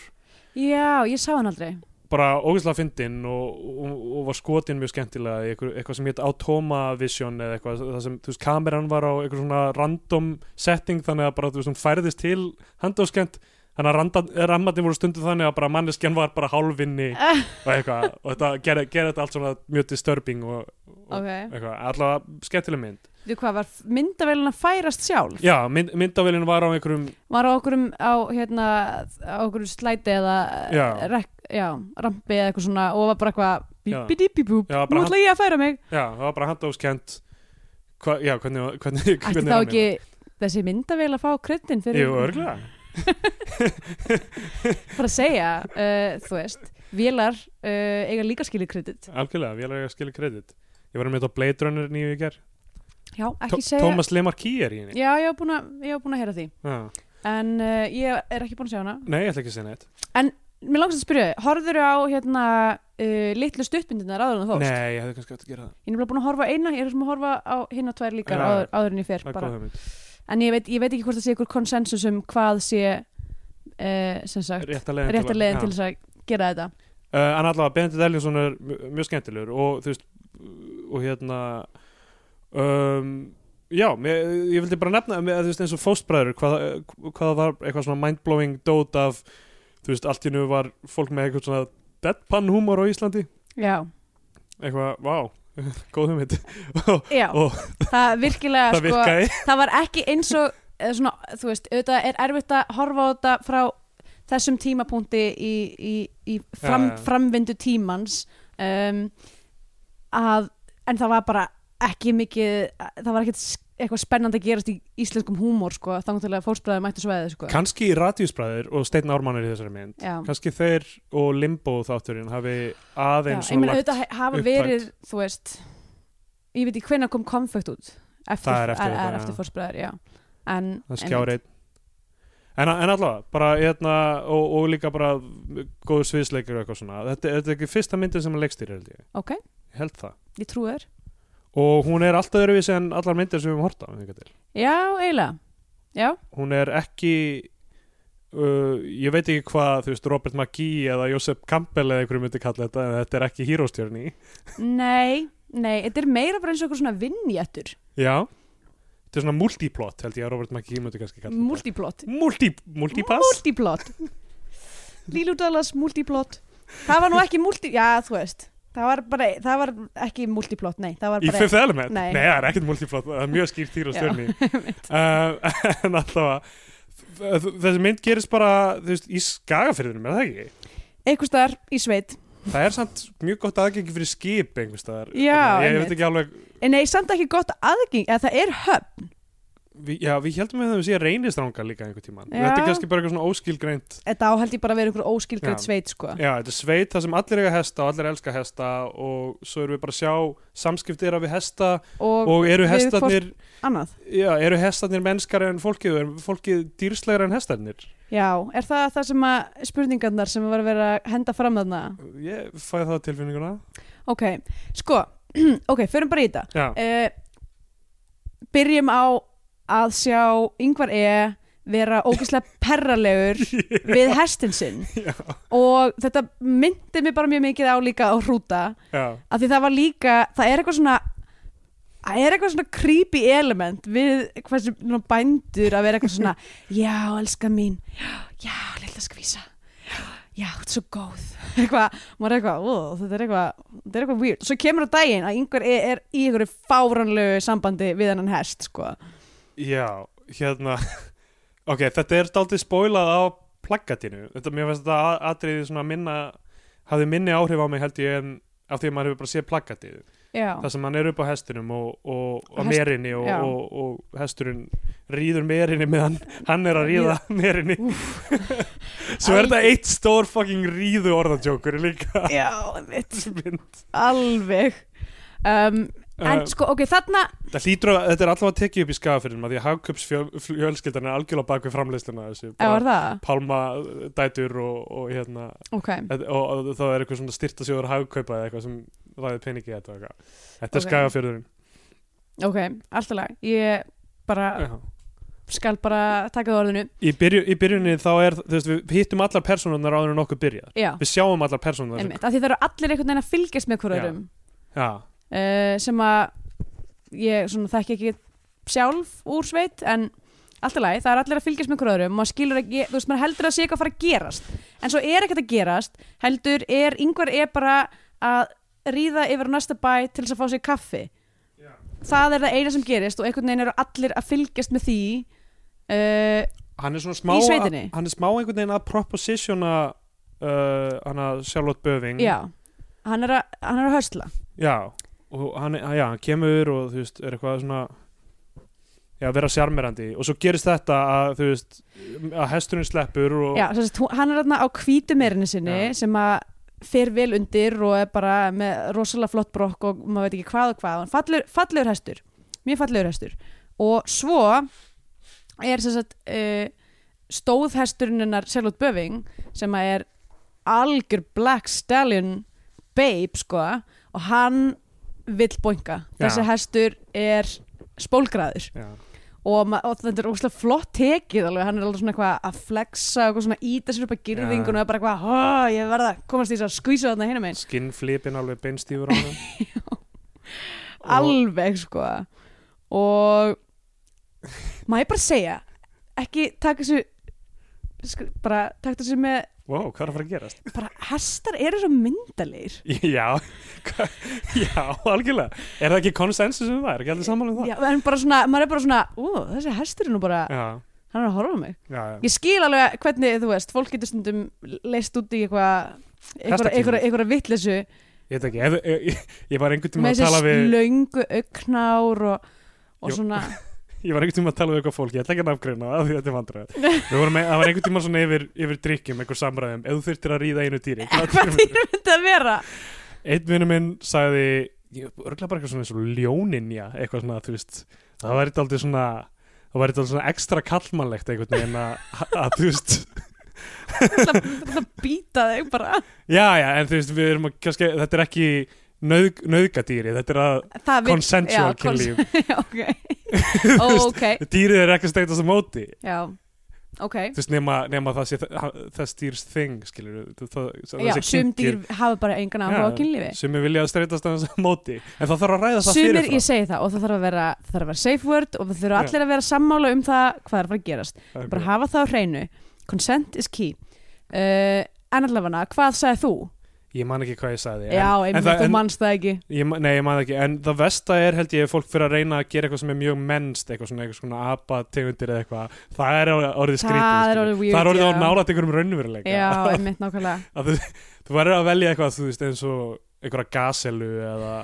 Já, ég sá hann aldrei
bara ógeðslega fyndinn og, og, og var skotin mjög skemmtilega í einhver, eitthvað sem hétt Automa Vision eða eitthvað það sem, þú veist, kameran var á eitthvað svona random setting þannig að bara, þú veist, hún færðist til handóskent þannig að randa- eh, rammarnir voru stundum þannig að bara manneskjan var bara hálfinni og eitthvað og þetta gerði, gerði þetta allt svona mjög disturbing og, og
Ok,
eitthvað, allavega skemmtileg mynd
Þú hvað var myndavélina færast sjálf?
já, mynd, myndavélin var á einhverjum
Var á okkur á, hérna, á okkur slæti eða eh,
Já.
Rek, já, rampi eða eitthvað svona og var bara eitthvað
Já.
bíbidibibúb,
Já, bara
nú ætla ég að færa mig
já, það var bara handóskent hva, já, hvernig, var-
Ætti
hvernig,
þá
hvernig var
ekki þessi myndavél að fá kreddin
myndin?
fyrir
jú, örglega
bara að segja, uh, þú veist vélar uh, eiga líka skilið kreddit
Algjörlega, við erum að skilja kredit Ég var með þetta Blade Runner nýju í ger
Já, ekki segja
Thomas Lemarki er í henni
Já, ég hef búin að, ég hef búin að heyra því
ah.
en uh, ég er ekki búin að segja hana
Nei, ég ætla ekki að segja neitt
Mér langast að spyrja, horfður á hérna uh, litlu stuttmyndirnar áður en þú fórst?
Nei, ég hefði kannski átt að gera það
Ég er nefnilega búin að horfa á eina, ég er sem að horfa á hinn og tvær líka
Já.
áður, áður en ég fer
Það er
bara.
góð hugmynd
En ég veit, ég veit ekki hvort það sé ykkur konsensus um hvað sé uh, sem sagt,
Rétta leiðin
rétt að leiðin til
Já.
þess að gera þetta.
Uh, En allavega, Benedikt Ellingsson er mj- mjög skemmtilegur og þú veist og hérna um, Já, mér, ég vildi bara nefna mér, þú veist, eins og fóstbræður hvað, hvað það var eitthvað svona mindblowing dót af þú veist, allt í nú var fólk með eitthvað svona deadpan humor á Íslandi
Já,
eitthvað, vá, góð hugmynd
já,
Ó.
það virkilega,
það
Eh, sko,
virkaði
það var ekki eins og, eða svona, þú veist, auðvitað er erfitt að horfa á þetta frá þessum tímapunkti í, í, í fram,
Já, já.
framvindu tímans um, að, en það var bara ekki mikið, það var ekkert s- eitthvað spennandi að gerast í íslenskum húmór sko, þannig til að fólksbræði mættu sveðið sko.
kannski Radíusbræður og Steinn Ármann er í þessari mynd
Já.
kannski þeir og Limbo þátturinn hafi
Já,
aðeins
ég meina
svona lagt
auðvitað he- hafa
upptakt.
verið þú veist, ég veit ekki hvenær kom konfekt út eftir,
Það er eftir þetta,
er
já.
eftir fórsbræðar, já en,
það
en-
skjári en, en allavega, bara hérna og, og líka bara góður sviðsleikur og eitthvað svona, þetta, þetta er ekki fyrsta myndin sem hann leikstýr held ég,
ok,
Ég held það
ég trú þér
og hún er alltaf öðruvísi en allar myndir sem við höfum horta til.
já, eiginlega, já
hún er ekki uh, ég veit ekki hvað, þú veist, Robert McGee eða Joseph Campbell eða einhverju myndi kalla þetta en þetta er ekki hýróstjörni
nei, nei, þetta er meira bara eins og einhver svona vinnjættur,
já, þetta er svona multiplot held ég að Robert McGee myndi kannski kalla þetta
multiplot
Multi, multipass
multiplot Líludalas multiplot það var nú ekki multi, já þú veist það var, bara, það var ekki multiplot, nei það var
í
bara
fifth element,
Nei.
nei. það er ekkert multiplot það er mjög skýrt týra
Já,
stjörni uh, en alltaf þessi mynd gerist bara þú veist, í skagafyrðinum, er það ekki?
einhvers staðar í sveit
það er samt mjög gott aðgengi fyrir skip einhverstaðar,
Já,
ég
einmitt.
veit ekki alveg
en nei, samt ekki gott aðgeng eða það er höfn
við, já, við heldum við þeim sé reynistranga líka einhver tíman,
Já.
þetta er kannski bara eitthvað svona óskilgreint
þetta áhaldi bara að vera einhver óskilgjöld
Já.
sveit sko.
já, þetta er sveit það sem allir eiga hesta og allir elska hesta og svo erum við bara að sjá samskipti þeirra við hesta
og,
og eru
við
hestarnir
annað
Já, eru hestarnir mennskar en fólkið er fólkið dýrslegra en hestarnir
já, er það það sem að spurningarnar sem var að vera að henda fram þarna
ég fæ það tilfinninguna
ok, sko ok, förum bara í þetta
já,
uh, byrjum á að sjá yngvar E vera ógeðslega perralegur við hestin sinn
Já.
og þetta myndi mér bara mjög mikið á líka á hrúta
já,
af því það var líka, það er eitthvað svona það er eitthvað svona creepy element við hversu nú, bændur að vera eitthvað svona já, elska mín, já, já, lilla skvísa já, þú ert svo góð eitthvað, maður er eitthvað, ó, þetta er eitthvað þetta er eitthvað weird, svo kemur á daginn að einhver er, er í einhverju fáranlegu sambandi við hennan hest, sko
já, hérna ok, þetta er daldið spoilað á plaggatinu, þetta mér finnst þetta a- atriði svona minna, hafði minni áhrif á mig held ég en af því að maður hefur bara séð plaggatið,
já,
það sem hann er upp á hestinum og, og, og
Hest-
merinni og,
já.
og, og hesturinn rýður merinni meðan hann er að rýða merinni svo
Æ.
er þetta eitt stór fucking rýðu orðadjókur líka
já, einmitt,
þessi mynd
alveg um, en
Uh,
sko, ok, þarna
Það hlýtur að þetta er alltaf að tekið upp í skafafyrðum því að Hagkaups fjölskyldan er algjörlega bak við framleysluna af þessu
eða var það,
Palma eh, dætur og, og hérna
ok
og, og, og það er eitthvað svona styrtasjóður Hagkaupa eða eitthvað sem ræði peningi í þetta og eitthvað. Þetta
Ok.
er okay. skafafyrðurinn
ok, alltaf lag, ég bara skal bara taka það orðinu
í, byrju, í byrjunni þá er þú veist, við hittum allar persónunar áður en okkur byrjar
já,
við sjáum allar persónunar
Ah. einmitt, af því það eru allir einhvern veginn að fylgjast með
Já.
hverjum
já,
uh, sem að ég svona þekki ekki sjálf úr sveit en allt í lagi, það er allir að fylgjast með hverjum maður skilur ekki, þú veist, maður heldur að sé eitthvað að fara að gerast en svo er ekkert að gerast heldur er, yngvar er bara að ríða yfir á næsta bæ til þess að fá sér kaffi það er það eina sem gerist og einhvern veginn eru allir að fylgjast með því uh,
hann er svona smá
Í
að,
sveitinni?
hann er smá einhvern veginn að propositiona uh, hann að Charlotte Böving
já, hann er að, hann er að hösla
Já, og hann, hann- já, hann kemur og þú veist, er eitthvað svona já, vera sjarmerandi og svo gerist þetta að þú veist að hesturinn sleppur og
Já, sem sagt, hún- hann er þarna á hvítu meirinni sinni
Já.
sem að fer vel undir og er bara með rosalega flott brokk og maður veit ekki hvað og hvað hann fallur, fallur hestur, mjög fallur hestur og svo er sem sagt uh, stóð hennar Charlotte Böving sem að er algjör Black Stallion babe sko og hann vill boinga
Já.
þessi hestur er spólgraður
já,
og, ma- og þetta er ógustlega flott tekið alveg, hann er alveg svona eitthvað að flexa og eitthvað svona íta sér upp að girðingun
Já.
og er bara eitthvað, hó, ég verða, að komast í þess að skvísa þarna hinum einn,
skinnflipin alveg beinstífur á hann Og-
alveg sko og má ég bara segja ekki taka þessu sk- bara taka þessu með
wow, hvað er að fara að gerast?
bara hestar eru svo myndalegir
já, hva- já, algjörlega er það ekki konsensus um það? Er ekki allir sammála um það?
Já, en bara svona, maður er bara svona ú, þessi hestur er nú bara,
já,
hann er að horfa á mig
já, já.
ég skil alveg hvernig, þú veist, fólk getur stundum leist út í eitthvað einhverja-
Hestakynlíf.
einhverja einhverja vitleysu
ég veit ekki, ef, ég, ég, ég var einhvern tímann
með
að tala
þessi
við
slöngu augnár og, og
Jú.
svona
ég var einhvern tímann að tala við eitthvað fólk, ég ætla ekki að nafngreina það af því þetta er vandræð Við vorum með- það var einhvern tímann svona yfir, yfir drikkjum, einhver samræðum ef þú þurftir að ríða einu dýri hvaða dýr
hvað
myndirðu-
þýr myndi að vera
Einn vinnu minn sagði örgla bara eitthvað svona eins og ljóninja eitthvað svona, þú veist, það væri aldrei svona það væri aldrei svona ekstra kallmannlegt einhvern veginn að, að, þú veist
Það ætla að býta þig bara
já, já, en þú veist, við erum að kannski, þetta er ekki nöðg, nöðgadýri, þetta er að
Það vill-
consensual
já,
kynlíf,
Já, ok Ó, ok,
dýrið er ekki að steita þessu móti,
já Ok
þú veist, nema, nema það sé þa- þess dýrs þing, skilur við það, það,
Já, sum dýr hafa bara engan áhuga á kynlífi
sem er viljað að streitast að þessu móti en það þarf að ræða það
Sumir,
fyrirfram
ég segi það, og það þarf að vera, það þarf að vera safe word og það þurfa
Já.
allir að vera sammála um það hvað er að fara að gerast
Ok.
bara hafa það á hreinu, consent is key uh, En allavega, hvað sagði þú?
ég man ekki hvað ég sagði
Já,
en, en,
einmitt,
það-
þú
en,
manst það ekki
Ég, ma- nei, ég maður ekki, en það versta er held ég ef fólk fyrir að reyna að gera eitthvað sem er mjög mennst eitthvað svona, eitthvað svona apa tegundir eða eitthvað það er orðið- orðið
Það
skrítið
er
skilur.
orðið weird,
það er orðið
já.
að nálægt einhverjum raunveruleika
Já, einmitt nákvæmlega
að þú, þú verður að velja eitthvað þú veist eins og einhverja gaselu eða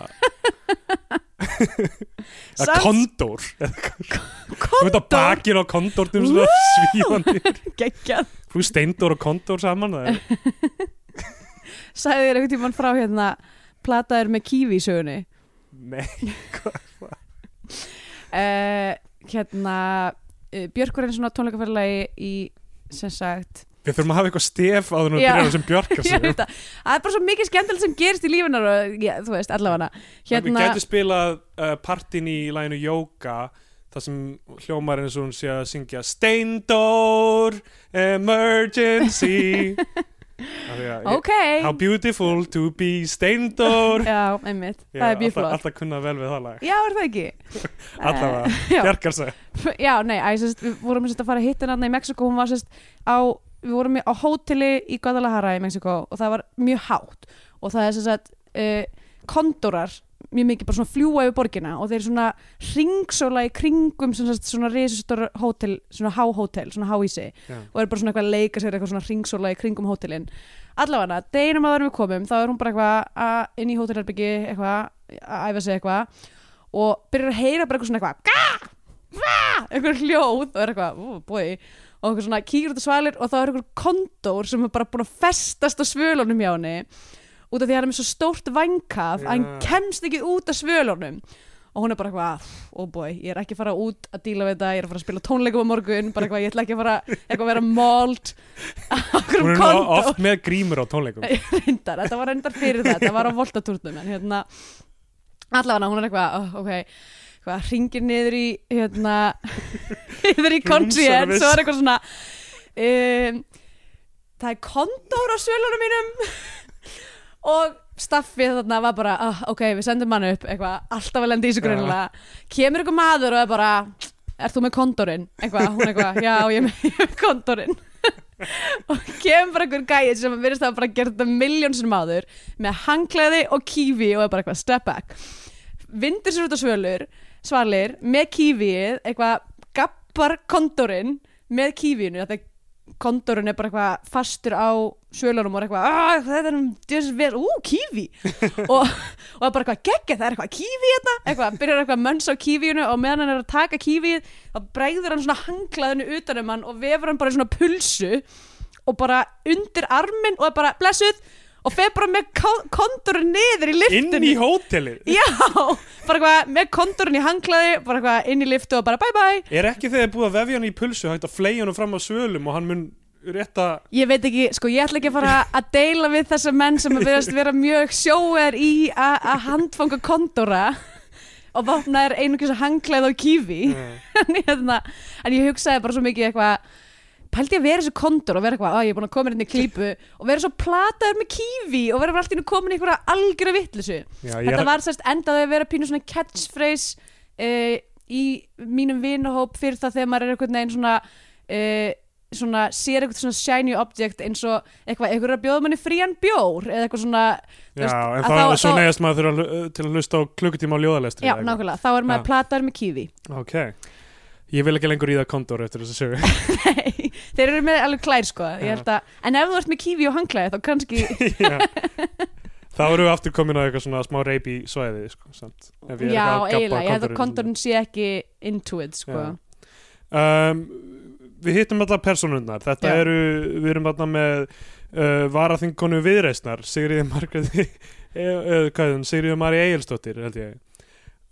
eða
Samt-
kondór eða þú veit að
Kondór?
bakinn á kondórnum svona svíðandi
geggjað
þú steindór og kondór saman það er,
sagði þér einhvern tímann frá hérna plataður með kífi í sögunni
nei,
uh, hérna uh, Björk var einu svona tónleikaferðalagi í sem sagt
við þurfum að hafa eitthvað stef á því að
Já.
byrja sem björkar
Ég
sig
veit það Það er bara svo mikið skemmtilegt sem gerist í lífinar og já, þú veist allavega
Við
hérna
gætu spilað uh, partin í læginu Jóka þar sem hljómar eins og hún sé að syngja Steindór Emergency Af því að-
ok
How beautiful to be Steindór
já einmitt það
Ég
er
alltaf,
bjöflott
alltaf kunna vel við það lag
já er það ekki
Allavega,
já.
bjargar sig
já nei æ, sest, við vorum sest, að fara að hitta hann í Mexiko hún var sest, á við vorum í- á hóteli í Guadalajara í Mexiko og það var mjög hátt og það er sem sagt uh, kondórar mjög mikið bara svona fljúa yfir borgina og þeir svona ringsóla í kringum sem sagt svona resustor hótel svona háhótel, svona háísi
Já.
og eru bara svona eitthvað að leika sér eitthvað svona ringsóla í kringum hótelin allavega, deginum að við komum þá er hún bara eitthvað að- inn í hótelherbyggi eitthvað að æfa sig eitthvað og byrjar að heyra bara eitthvað svona eitthvað gá, vá, eitthvað hljóð og er eitthvað, ú, bói og eitthvað svona kýr út á svalir og þá er eitthvað kondór sem er bara búin að festast á svölunum hjá henni út af því að hann er með svo stórt vangkaf að hann
Já.
kemst ekki út af svölunum og hún er bara eitthvað, oh boy, ég er ekki að fara út að díla við þetta, ég er að fara að spila tónleikum á morgun bara eitthvað, ég ætla ekki að fara eitthvað að vera mold á
Hún
okkur
er nú
kondór
oft með grímur á tónleikum
reyndar, þetta var reyndar fyrir það þetta var á voltatúrnum en hérna allavega hún er eitthvað oh, ok, hvað, ringir niður í hérna, niður í country en svo er eitthvað svona um, það er kondór á svölunum mínum og staffið þarna var bara oh, ok, við sendum hann upp, eitthvað alltaf að lenda í þessu greinilega, kemur eitthvað maður og er bara, er þú með kondórin eitthvað, hún eitthvað, já, ég er með, ég er með kondórin og kemur bara einhver gæið sem virðist að hafa bara gert þetta miljónsinn maður með hanglaði og kífi og er bara eitthvað step back vindur sér út á svölur svalir með kífið, eitthvað gappar kondorinn með kífinu þetta kondorinn er bara eitthvað fastur á svölunum og er eitthvað "Ah, þetta er um djöfis vel, ú, kífi og, og er bara eitthvað geggja, það er eitthvað kífi hérna, eitthvað, byrjar eitthvað mönns á kífinu og meðan hann er að taka kífið þá bregður hann svona hanglaðinu utan um hann og vefur hann bara í svona pulsu og bara undir arminn og er bara blessuð og fer bara með kondurinn niður í
inn
liftinu
í hótelið
Já, bara eitthvað með kondurinn í hanglaði bara eitthvað inn í liftu og bara bye bye
Er ekki þegar búið að vefja hann í pulsu hægt að fleia hann fram á svölum og hann mun rétta
Ég veit ekki, sko ég ætla ekki að fara að deila við þessa menn sem að verðast vera mjög sjóer í a- að handfanga kondora og vopna er einungis að hanglaði á kífi
Mm.
en, hérna, en ég hugsaði bara svo mikið eitthvað pældi ég að vera í þessu kontor og vera eitthvað, að ég er búin að koma hérna í klípu og vera svo plataður með kífi og vera bara allt í hennu komin í einhverja algjöra vittlisu
Já, ég-
þetta var sérst endaði að vera pínu svona catchphrase uh, í mínum vinahóp fyrir það þegar maður er einhvern veginn svona uh, svona, sér eitthvað svona shiny object eins og eitthvað, eitthvað er að bjóða manni frían bjór eða eitthvað svona þú
Já, en
að
það
þá-
er svo
þá-
neyjast maður þurfa að hlu- til að hlusta á klukkutíma á ljóðalestri
já,
eða eitthvað.
nákvæmlega, þá er maður
Já.
plataður með kífi
Ok, ég vil ekki lengur í það kondor eftir þess að
Nei, þeir eru með alveg klær sko
Já.
Ég held að, en ef þú ert með kífi og hanglaði þá kannski,
sögu Þá erum við aftur komin að eitthvað svona smá reypi svæði sko, samt, ef ég er
já,
eitthvað að gabba á
eiginlega ég held að
kondorinn.
kondorinn sé ekki into it sko
Já. um, Við hittum allar personunnar Þetta
Já.
eru, við erum alltaf með uh, varaþingkonu viðreisnar Sigriði Margreði e, uh, Kæðun, Sigriði Mari Egilsdóttir held ég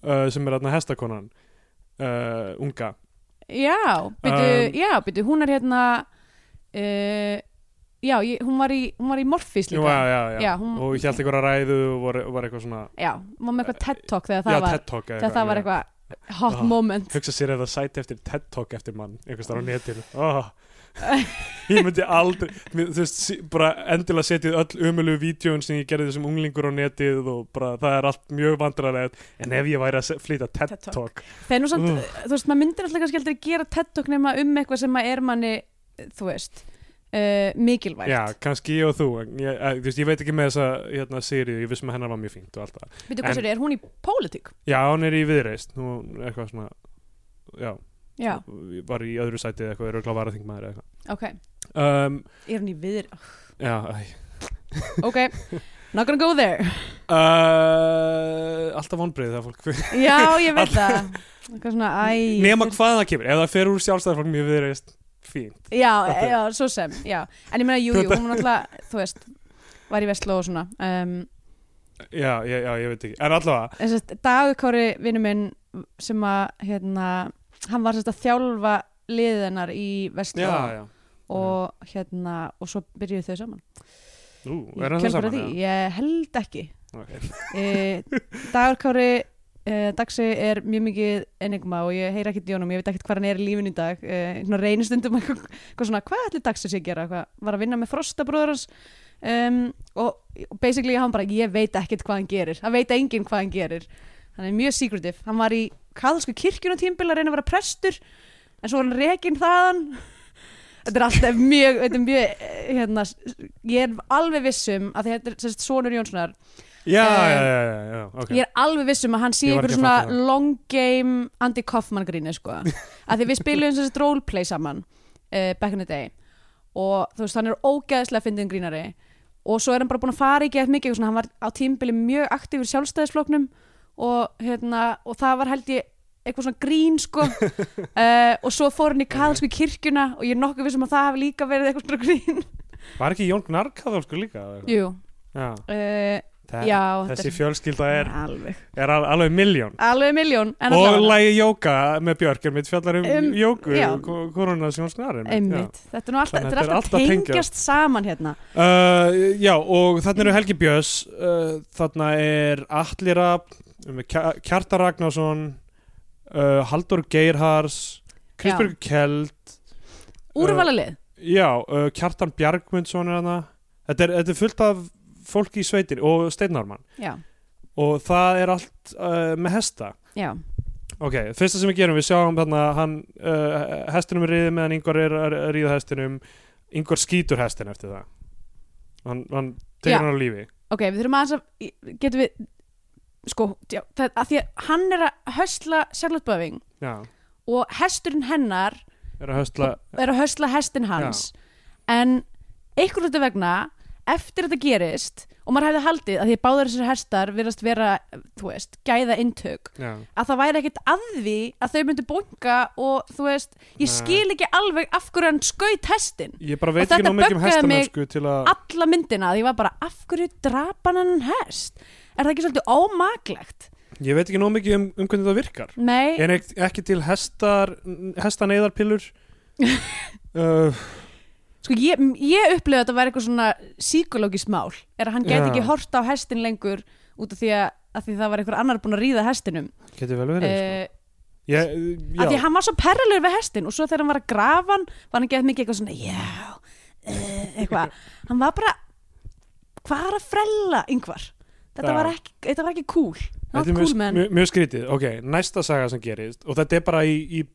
uh, sem er alltaf hestakonan uh, unga
Já, byrju,
Um,
já, byrju, hún er hérna uh, Já, ég, hún var í, hún var í Morfís
Jú,
líka
já, já, já.
Já, hún-
og ég held einhverja ræðu og var, var eitthvað svona
Já, hún var með eitthvað TED Talk þegar það
já,
var
TED Talk eða
þegar það var
já.
eitthvað hot
Ah.
moment
Hugsa sér ef það sæti eftir TED Talk eftir mann einhvers þar á netinu oh. Ég myndi aldrei mér- þú veist, sí- bara endilega setið öll umölu vídjón sem ég gerði þessum unglingur á netið og bara það er allt mjög vandrarlegt en ef ég væri að se- flytja TED
TED
Talk
Þegar nú samt,
Ugh.
þú veist, maður myndir alltaf kannski aldrei gera TED Talk nema um eitthvað sem maður er manni þú veist, uh, mikilvægt
Já, kannski ég og þú en ég, að, þú veist, ég veit ekki með þessa hérna, sérið, ég vissum að hennar var mjög fínt og allt það
Byrju,
En-
hvað sér, er hún í pólitík?
Já, hún er í viðreist, hún er eitthvað svona já,
Já,
var í öðru sætið eða eitthvað, er auðvitað varaþingmaður eða
ok
eitthvað um,
Er hún í viðri?
Já, æ,
ok, not gonna go there
Uh, alltaf vonbreið þegar fólk
já, ég veit það eitthvað svona, æ
nema hvað það kemur, ef það fer úr sjálfstæðarflokk mér viðreist, fínt
já, já, svo sem, já en ég meina, jú, jú, hún var náttúrulega, þú veist var í Vestló og svona um,
já, já, já, ég veit ekki, en allavega
en sérst, dagukári vinnu minn sem að, hérna hann var sérst að þjálfa liðinar í Vestló
já, já,
og hérna, og svo byrjuðu þau saman
ú,
Í
er hann það
kjölfarið
saman
því, ég held ekki
já? Okay.
e, dagarkári e, dagsi er mjög mikið enigma og ég heyri ekkert í honum, ég veit ekkert hvað hann er í lífinu í dag e, reynir stundum eitthvað eitthvað svona, hvað ætli dagsi sé að gera hvað, var að vinna með frostabróður hans um, og og basically hann bara ég veit ekkert hvað hann gerir, hann veit enginn hvað hann gerir hann er mjög secretive hann var í kaðalsku kirkjuna tímbil að reyna að vera prestur en svo var hann rekinn þaðan þetta er alltaf mjög, þetta er mjög eh, hérna, s- ég er alveg vissum að þetta er sérst sonur Jónssonar
já,
Um,
já, já, já, já, ok
Ég er alveg viss um að hann sé
Ég var
einhver
ekki að fatta
svona long game Andy Kaufman gríni sko að því við spilum þessi roleplay saman uh, back in the day og þú veist hann er ógeðslega fyndin grínari og svo er hann bara búin að fara í geð mikið og svona, hann var á tímbili mjög aktífur sjálfstæðisfloknum og, hérna, og það var held ég eitthvað svona grín sko uh, og svo fór hann í kaðalsku kirkjuna og ég er nokkuð vissum að það hafi líka verið eitthvað svona grín
var ekki Jón Gnarr kaþólskur líka? eða eitthvað?
Jú,
Já,
uh,
það,
já
þessi fjölskylda er,
alveg,
er al- alveg miljón
alveg miljón en
og
allavega.
lægi jóka með Björk er mitt fjallar um,
Um,
jóku
já.
korona sem Jón Gnarr er mitt, já.
Einmitt, þetta er nú alltaf,
Þannig að
þetta er alltaf tengjast, saman hérna
Uh, já, og þarna eru Helgi Björns uh, þarna er Atli Rapp Kjartar Ragnarsson uh, Haldur Geirhars Kristbjörg Kjeld
Úrvalalið,
já, uh, Kjartan Bjargmundsson er hana þetta er, þetta er fullt af fólki í sveitir og Steinarmann
já,
og það er allt uh, með hesta
já,
ok, fyrsta sem við gerum, við sjáum þarna hann, uh, hestinum er riðið meðan yngvar er að að ríða hestinum yngvar skýtur hestin eftir það hann, hann
Já.
tegur hann á lífi
ok, við þurfum aðeins að getum við sko, já, það, að því að hann er að hösla Charlotte Böving
já,
og hesturinn hennar
er að höstla
er að hösla hestin hans en einhvern veitur vegna eftir þetta gerist og maður hefði haldið að því að báðar þessir hestar virðast vera, þú veist, gæða inntök
já,
að það væri ekkert að því að þau myndu bunga og þú veist, ég
Nei.
skil ekki alveg af hverju hann skaut hestin
ég bara
Og
veit ekki
þetta
ná mikið um
böggaði mig
hestamennsku til að
alla myndina að ég var bara af hverju drapan hann hest er það ekki svolítið ómaklegt
ég veit ekki ná mikið um, um hvernig það virkar
nei,
en ekki, ekki til hestar hestaneyðarpillur uh,
sko ég, ég upplifði að þetta væri eitthvað svona psikologist mál er að hann gæti
Já.
ekki hort á hestin lengur út af því að, að því það var einhver annar búin að ríða hestinum
getur vel verið
uh,
sko.
af
ég,
því
já,
að hann var svo perralur við hestin og svo þegar hann var að grafa hann var hann gett mikið eitthvað svona já, uh, eitthvað hann var bara hvað er að frella yngvar þetta,
Já.
var ekki, þetta var ekki cool
Þetta
not
er
cool
mjög,
man
mjög, mjög skrítið, ok, næsta saga sem gerist og þetta er bara í, í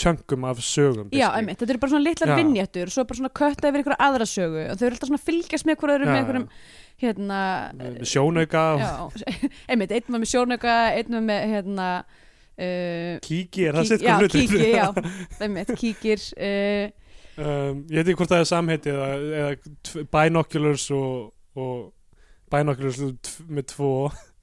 tjöngum af
já,
sögum basically.
einmitt, þetta eru bara svona litlar
Já.
vinnjættur svo bara svona kötta yfir einhverja aðra sögu og þau eru alltaf svona að fylgjast með hverju öðru
Já,
með
já.
einhverjum hérna
Með Eh, sjónauka og
já, einmitt, einn var með sjónauka einn var með hérna uh,
kíki er það
kík-
sitt
já,
hvað hlutur
kíkir, já, einmitt, kíkir uh,
um, ég veit ekki hvort það er samheiti eða, eða tv- binoculars og, og binoculars tv- með tvo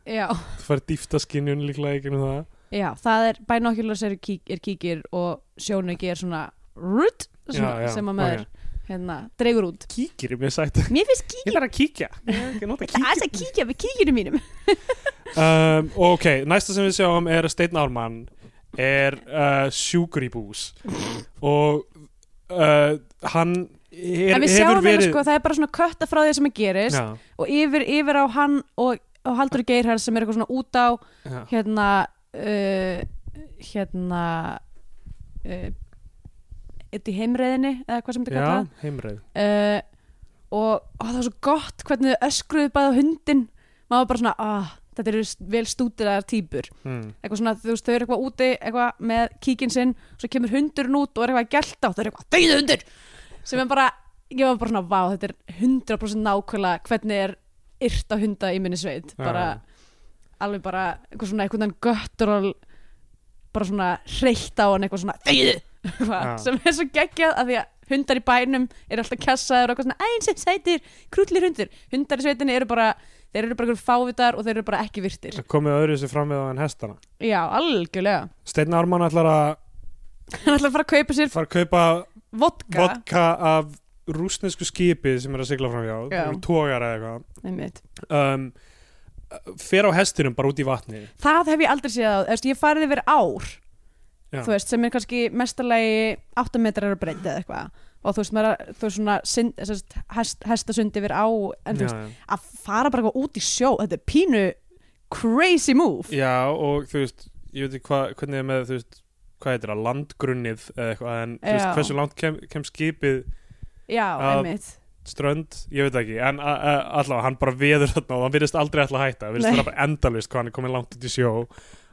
já
þú fær dýftaskinjun líklega ekki um það
Já, það er binoculars er, kík, er kíkir og sjónauki er svona rutt svona,
Já, já,
sem að maður hérna, dreigur út.
kíkir er mjög sætt
Mér finnst
ég
kíkir,
er að kíkja Ég er ekki að nota
það er að kíkja við kíkinu mínum.
um, ok, næsta sem við sjáum er að Steinn Ármann er uh, sjúkur í bús og uh, hann er,
en við
hefur
sjáum
verið
þetta sko, það er bara svona kötta frá því sem að gerist
já,
og yfir, yfir á hann og, og Haldur Geirhær sem er eitthvað svona út á
já.
hérna uh, hérna uh, eitt í heimreiðinni eða hvað sem þetta
Já,
kallað.
heimreið
uh, og ó, það var svo gott hvernig þau öskruðu bæði á hundin maður var bara svona, ah, þetta eru st- vel stútilegar týpur,
hmm.
eitthvað svona þú veist, þau eru eitthvað úti, eitthvað með kíkin sinn svo kemur hundurinn út og er eitthvað að gelta og þau eru eitthvað, þauðu hundur sem er bara, ég var bara svona, vá, þetta er 100% nákvæmlega hvernig er yrt að hunda í minni sveit
Já.
bara, alveg bara eitthvað svona, einhvern veginn göttur bara svona hreitt á hann eitthvað svona þauðu
Já.
sem er svo geggjað að því að hundar í bænum eru alltaf kassaður og eitthvað svona eins sem sætir, krullir hundur hundar í sveitinni eru bara, þeir eru bara einhver fávitar og þeir eru bara ekki virtir
komið öðru sér fram við á enn hestana
já, algjörlega,
Steinn Ármann ætlar að
hann ætla að fara að kaupa sér
fara að kaupa
vodka,
vodka af rúsnesku skipi sem er að sigla fram hjá
Já.
tógar eða
einmitt
eitthvað um, fer á hestinum bara út í vatni
það hef ég aldrei séð á, eftir, ég farið yfir ár
Já.
þú veist, sem er kannski mestalagi 8 metrar að breyta eða eitthvað og þú veist, maður, er að- þú veist svona sind, sest, hest, hestasundi yfir á en þú
já,
veist,
já.
að fara bara eitthvað út í sjó þetta er pínu crazy move
já og þú veist ég veit ekki hva, hvernig er með þú veist hvað heitir það, landgrunnið eða eitthvað en þú veist
Já.
hversu langt kem, kem skipið
já,
Að-
einmitt
strönd, ég veit ekki en a- a- allavega hann bara veður þarna og hann virðist aldrei ætla að hætta, hann virðist
Nei.
vera bara endalist hvað hann er komin langt út í sjó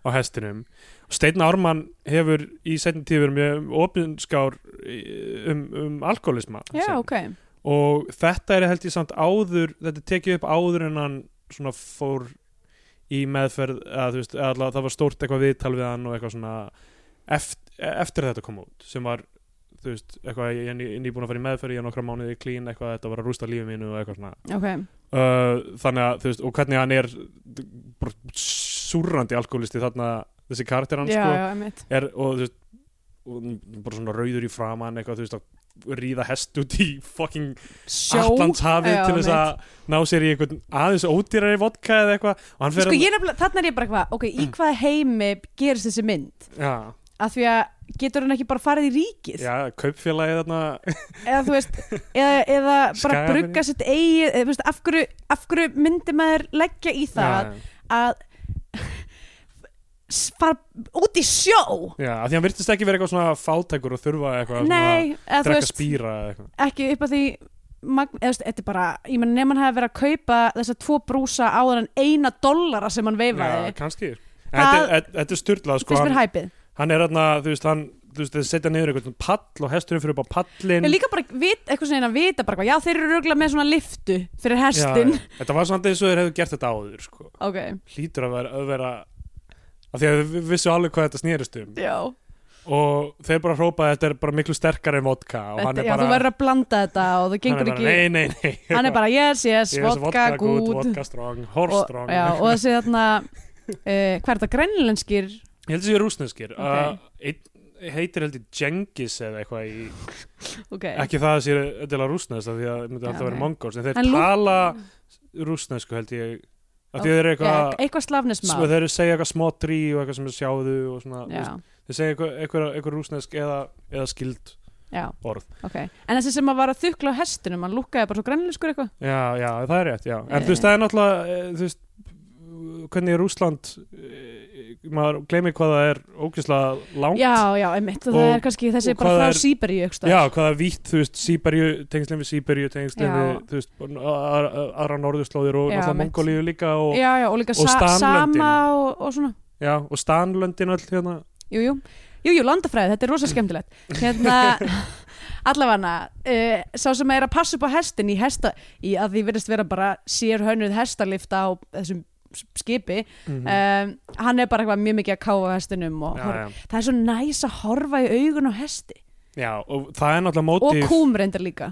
á hestinum og Steinn Ármann hefur í setjum tífur mjög opinskár í- um, um alkoholisma
já,
sinn.
ok,
og þetta er held ég samt áður þetta er tekið upp áður en hann svona fór í meðferð að, þú veist, að allavega það var stórt eitthvað viðtal við hann og eitthvað svona eftir, eftir að þetta kom út sem var þú veist, eitthvað ég er ný- nýbúin að fara í meðferð ég er nokkra mánuði klín, eitthvað þetta var að rústa lífið mínu og eitthvað svona
ok
uh, þannig að þú veist, og hvernig hann er súrandi alkoholisti þarna þessi karakter hann
já,
sko
já, einmitt
er, og þú veist og bara svona rauður í framann eitthvað, þú veist, að ríða hest út í fucking
sjó
Allandshafið
Já,
til þess
einmitt.
að ná sér í einhvern aðeins ódýrari vodka eða eitthvað og hann fer um- Mm.
sko, ég nefnilega, þarna er ég bara eitthvað ok, í hvaða heimi gerist þessi mynd
já,
að því að getur hann ekki bara farið í ríkið
já, kaupfélagið þarna
eða þú veist, eða, eða bara
Skagafirði.
brugga sitt eigi, eða, þú veist, af hverju, af hverju myndi maður leggja í það
já,
að s- fara út í sjó
já, af því hann virtist ekki vera eitthvað svona fátækur og þurfa eitthvað
nei, eða
svona
þú
drekka
veist
spýra eða eitthvað
ekki upp að því magn, eða þú veist, þetta er bara, ég menn nefn hann hafi verið að kaupa þessa tvo brúsa áður en eina dollara sem hann veifaði,
já, kannski En
Það-
þetta er- þetta er styrlað sko,
fyrst mér
hann,
hæpið
hann er þarna, þú veist, hann þú veist, þeir setja niður einhvern pall og hesturinn fyrir upp á pallin
Ég líka bara vit, eitthvað svona einn að vita bara hvað, já þeir eru röglega með svona liftu fyrir hestin.
þetta var samt eins og þeir hefðu gert þetta áður sko.
Ok,
hlýtur að vera, að vera af því að við vissu alveg hvað þetta snýrist um
já.
og þeir bara hrópaði þetta er bara miklu sterkar en vodka og
Þetta,
hann er
já, þú
bara,
verður að blanda þetta og það
hann er
gengur
bara
ekki.
nei, nei, nei
Hann er bara yes, yes,
Yes,
vodka, good.
vodka strong, horse
og,
strong
já, og þessi þarna, uh, hvað er þetta, grænlenskir?
ég held að þessi rúsneskir
Ok.
okay. uh, heitir held ég Genghis eða eitthvað í,
Ok,
ekki það að sé endilega rúsnesk af því að það myndi
Já,
alltaf
nei.
vera mongóls en þeir
En Lú-
tala rúsnesku held ég af því að þeir
Já,
eru eitthvað
eitthvað slafnismál.
sm- þeir segja eitthvað smotri og eitthvað sem er sjáðu og svona, hérna, þú
Já,
veist, þeir segja eitthvað, eitthvað, eitthvað rúsnesk eða, eða skild
já,
orð
ok. En þessi sem að var að þukla á hestinum, hann lúkkaði bara svo grænlenskur eitthvað.
já, já, það er rétt, já en
Eh.
þú veist, það er náttúrulega eh, þú veist, hvernig Rúsland eh, maður gleymir hvað það er ógeðslega langt
Já, já, einmitt, og, það
Og-
er kannski þessi
og
bara
hvað
frá
er-
Sýberíu eitthvað.
Já, hvað er vítt, þú veist, Sýberju, tengslinn við Sýberju, tengslinn
Já.
við, þú veist, a- a- a- aðra norðurslóðir og
Já,
náttúrulega
mitt.
Mongolíu líka og,
já, já, og líka
og
sa
Stanlöndin.
sama og, og svona
já, og Stanlöndin öll hérna.
Jú, jú, jú, jú landafræði, þetta er rosa skemmtilegt Hérna, allafana uh, sá sem er að passa upp á hestin í hesta, í að því virðist vera bara sér hönnuð hestalifta á þessum skipi um, hann er bara eitthvað mjög mikið að káfa á hestinum og
Mhm. já,
horfa.
já.
það er svo næs að horfa í augun á hesti
já, og það er náttúrulega
og
mótíf,
kúm reyndar líka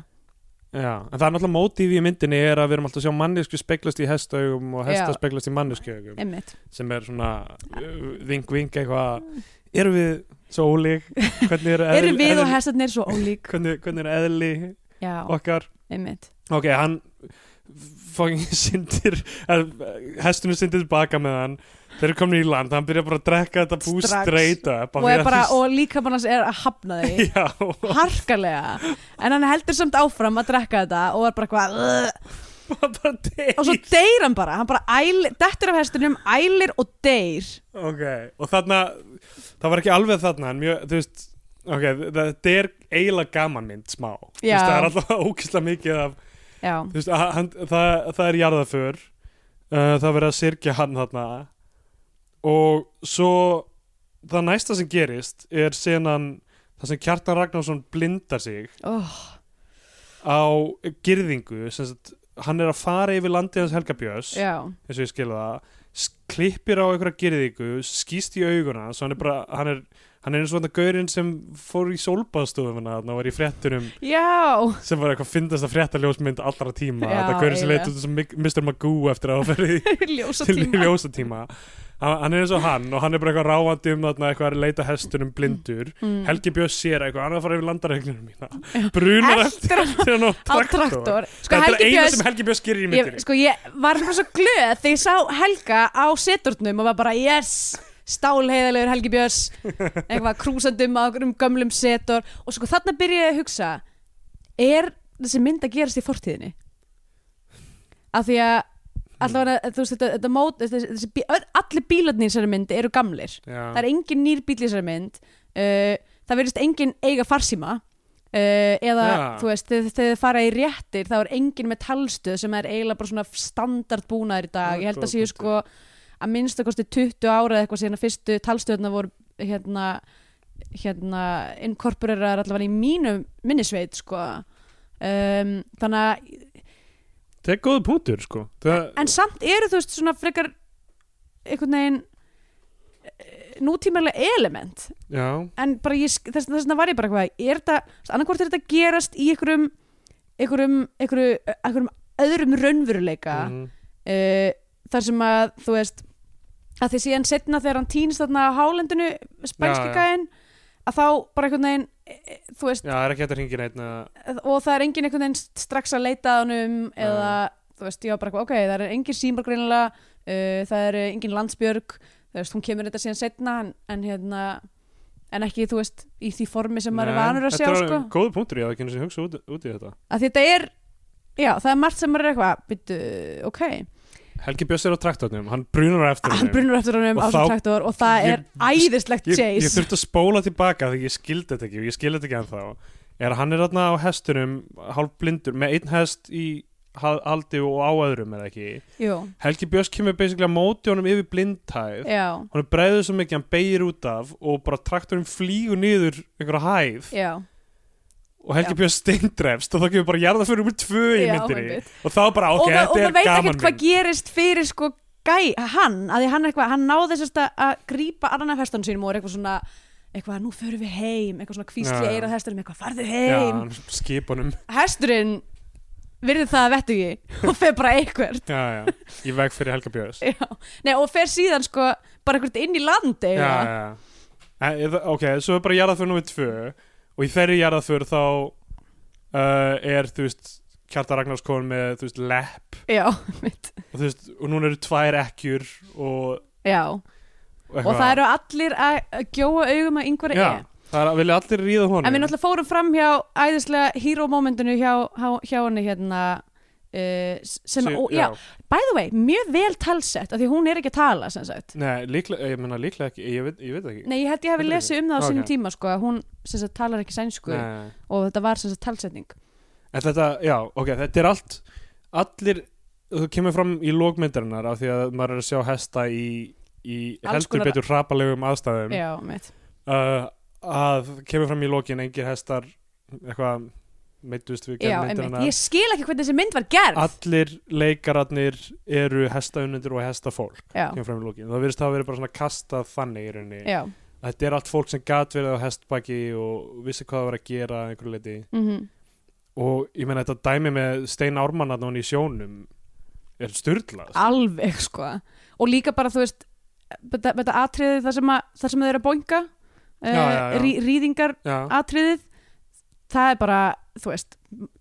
já, en það er náttúrulega mótíf í myndinni er að við erum alltaf að sjá mannesku speglast í hestaugum og hesta
Já.
speglast í manneskuaugum,
einmitt,
sem er svona uh, vink, vink, eitthvað, eru við svo ólík, hvernig er
eru við og hestarnir svo ólík
hvernig, hvernig er eðli
já,
okkar,
einmitt
ok, hann fucking syndir hestunum syndir tilbaka með hann þeir eru komin í land, hann byrja bara að drekka þetta bú
Strax.
streyta
og, er bara, og líka bara er að hafna því
já, og
harkalega en hann heldur samt áfram að drekka þetta og er bara eitthvað "Ugh."
hann bara deyr
og svo deyr hann bara, hann bara æl, dettur af hestinum, ælir og deyr
ok, og þarna það var ekki alveg þarna, en mjög, þú veist ok, þetta er eiginlega gaman mynd smá, þú
Já.
veist, það er alltaf ókislega mikið af,
já,
þú veist, að hann, það, það er jarðaför uh, það verið að sirkja hann þarna og svo það næsta sem gerist er senan það sem Kjartan Ragnarsson blindar sig
oh,
á girðingu sem sagt, hann er að fara yfir landið hans Helga Björns
já,
eins og ég skilja það s- klippir á einhverja girðingu, skýst í auguna svo hann er bara, hann er hann er eins og þetta gaurinn sem fór í sólbaðstofuna og var í fréttunum
já
sem var eitthvað fyndast að frétta ljósmynd allra tíma
Já,
þetta gaurinn sem leit
eiginlega.
út sem Mr. Magoo eftir að hafa verið
ljósa
til
tíma
ljósa tíma hann, hann er eins og hann og hann er bara eitthvað ráandi um þarna eitthvað að leita hestunum blindur
Mm.
Helgi Björns sér eitthvað, hann er að fara yfir landaregnunum mína brunar eftir
eldur hann
hann á
á
traktor
traktor sko
þetta er
Helgi
eina
Björns
sem Helgi Björns gerir í
ég,
myndinni
sko ég var bara svo glöð þegar ég sá Helga á seturnum og var bara yes stálheiðalegur Helgi Björns eitthvað krúsandum á um gömlum setur og sko þarna byrjaði ég að hugsa er þessi mynd að gerast í fortíðinni af því að allavega þú veist þetta, þetta mót þessi, þessi, bí- öll- allir bílarnir í þessari mynd eru gamlir það
Já.
er engin nýr bíl í þessari mynd uh, það verðist engin eiga farsíma uh, eða
Ja.
þú veist þegar þegar þið fara í réttir þá er engin með talstöð sem er eiginlega bara svona standardbúnaður í dag
Ja,
ég held
góð
að séu
punktur.
sko að minnsta kosti 20 ára eða eitthvað síðan að fyrstu talstöðna voru hérna hérna inkorporerar allavega í mínu minnisveit sko um, þannig að
þetta er góð punktur sko það,
en samt eru þú veist svona frekar einhvern veginn eh, nútímalega element
já,
en bara ég, sk- þess, þess vegna var ég bara eitthvað er þetta, annarkvort er þetta gerast í einhverjum einhverjum, einhverjum, einhverjum öðrum raunveruleika mm.
mhm,
þar sem að þú veist að því síðan setna þegar hann týnst þarna á hálendinu spænski
Já, já.
gæðin að þá bara einhvern veginn e, e, þú veist,
já, það er ekki hægt að hringja neitt eða-
og það er engin einhvern veginn strax að leita að honum eða þú veist, ég var bara eitthvað, ok, það er engin símar greinilega uh, það er engin landsbjörg þú veist, hún kemur þetta síðan setna en, en hérna en ekki, þú veist, í því formi sem maður er
Nei,
vanur að sjá,
þetta er
sko
góð punktur, ég hafði ekki einu sinni hugsa út, út í þetta
að þetta er, já, það er margt sem maður er eitthvað byttu, ok,
Helgi Björns er á traktornum, hann brunar á eftir
hann brunur eftir honum
Og
á svo
þá-
traktor og það
ég-
er æðislegt
ég, ég
chase
þurfti að spóla tilbaka því ég skildi þetta ekki og ég skildi þetta ekki ennþá er að hann er þarna á hestunum hálf blindur með einn hest í ha- haldi og á öðrum eða ekki
Jú,
Helgi Björns kemur basically á móti honum yfir blindhæð
já,
honum bregður svo mikið, hann beigir út af og bara traktorinn flýgur niður einhverja hæð
já
og Helgi
Já.
Björns steindrefst og þá kemur bara jarða fyrir um tvö í
Já,
myndinni
einmitt.
og þá bara, ok,
og, það- og
þetta
það
er
veit
gaman
ekkert hvað
mynd
gerist fyrir sko gæ, hann, að því hann eitthvað hann náði þess að, að grípa annan af hestunum sínum og er eitthvað svona eitthvað, nú förum við heim, eitthvað svona kvísli
Já.
eirað hestunum, eitthvað, farðu
Já,
heim
hann um- skip honum
hesturinn virði það að vettu ekki og fer bara eitthvað
já, já. Ég veg fyrir Helga Björns Já,
já. Nei, og fer síðan sko bara eitthvað inn í landi
já, já. En, ég- Ok, svo er bara jarðaför nummið tvö og í þeirri jarðaför þá uh, er, þú veist Kjarta Ragnars komin með, þú veist, lepp
já, mitt
og þú veist, og núna eru tvær ekkjur og,
já.
og,
og það eru allir að að gjóa augum að yngvar
Já,
er
það er, vilja allir ríða honum
en við náttúrulega fórum fram hjá æðislega hero momentinu hjá, hjá, hjá henni hérna uh, sem,
Sí,
og, já, by the way, mjög vel talsett af því hún er ekki að tala sem sagt
Nei, líklega, ég meina líklega ekki, ég veit, ég veit ekki
Nei, ég held ég hafi
Heldur ekki?
lesið um það á
Ok.
sínum tíma sko, að hún sem sagt talar ekki sænsku
Nei.
og þetta var sem sagt talsetning
En þetta, já, ok, þetta er allt Allir, þú kemur fram í lókmyndarinnar af því að maður er að sjá hesta í, í
Alls
heldur
konar-
betur hrapalegum aðstæðum
Já, mitt
uh, að kemur fram í lokin engir hestar eitthvað meittust
Já,
við gerð
einmitt.
myndarinnar
Ég skil ekki hvernig þessi mynd var gerð
allir leikararnir eru hestaunundir og hestafólk
Já,
kemur fram í lokin, það virðist hafa verið bara svona kastað þannig í rauninni,
já
þetta er allt fólk sem gat verið á hestbaki og vissi hvað það var að gera að einhverju leiti
mm
og ég meina þetta dæmi með Stein Ármann að hún í sjónum er styrlað
Alveg, sko Og líka bara, þú veist þetta þetta atriðið þar sem, að, þar sem þau eru að bónga
Já, já, já.
rí, Rýðingar
Já,
atriðið Það er bara, þú veist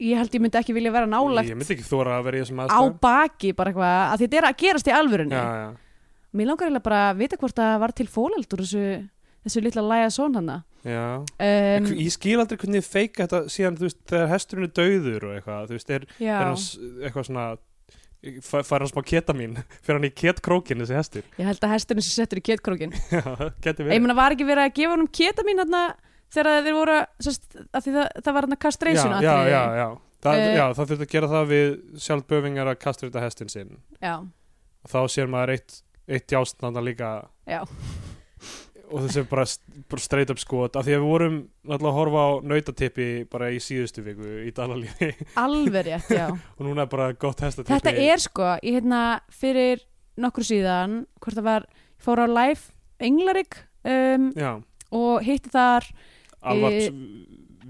Ég held ég myndi ekki vilja vera
ég
nálægt
myndi ekki þóra að vera í
á
þessum aðstæðum
baki bara eitthvað að þetta er að gerast í alvörunni
já, já.
Mér langar eiginlega bara að vita hvort það var til fóleldur þessu, þessu litla læja són hana
Já.
um,
Um, ég skil aldrei hvernig þið feika þetta síðan þú veist, þegar hesturinn er dauður og eitthvað þú veist, er,
Já,
er hans eitthvað svona fær hann smá keta mín fyrir hann í ketkrókin þessi hestur
ég held að hesturinn sem settur í kjötkrókin
Já,
Ég
geti verið
meina var ekki verið að gefa honum keta mín þarna þegar þeir voru að, sest, að því það, það var hann að kastreysuna
já, já, já, já. Það,
Eh,
já, það þurfti að gera það við sjálf böfingar að kastur þetta hestin sinn
já,
og þá sér maður eitt, eitt jástnanda líka
já,
og þessi bara, bara straight up skot af því að við vorum náttúrulega að horfa á nautatippi bara í síðustu viku í dalalífi
alveg rétt, já
og núna er bara gott hestatippi
Þetta er sko, ég hérna fyrir nokkur síðan, hvort það var ég fór á live Englarik um,
já,
og hitti þar
alvarps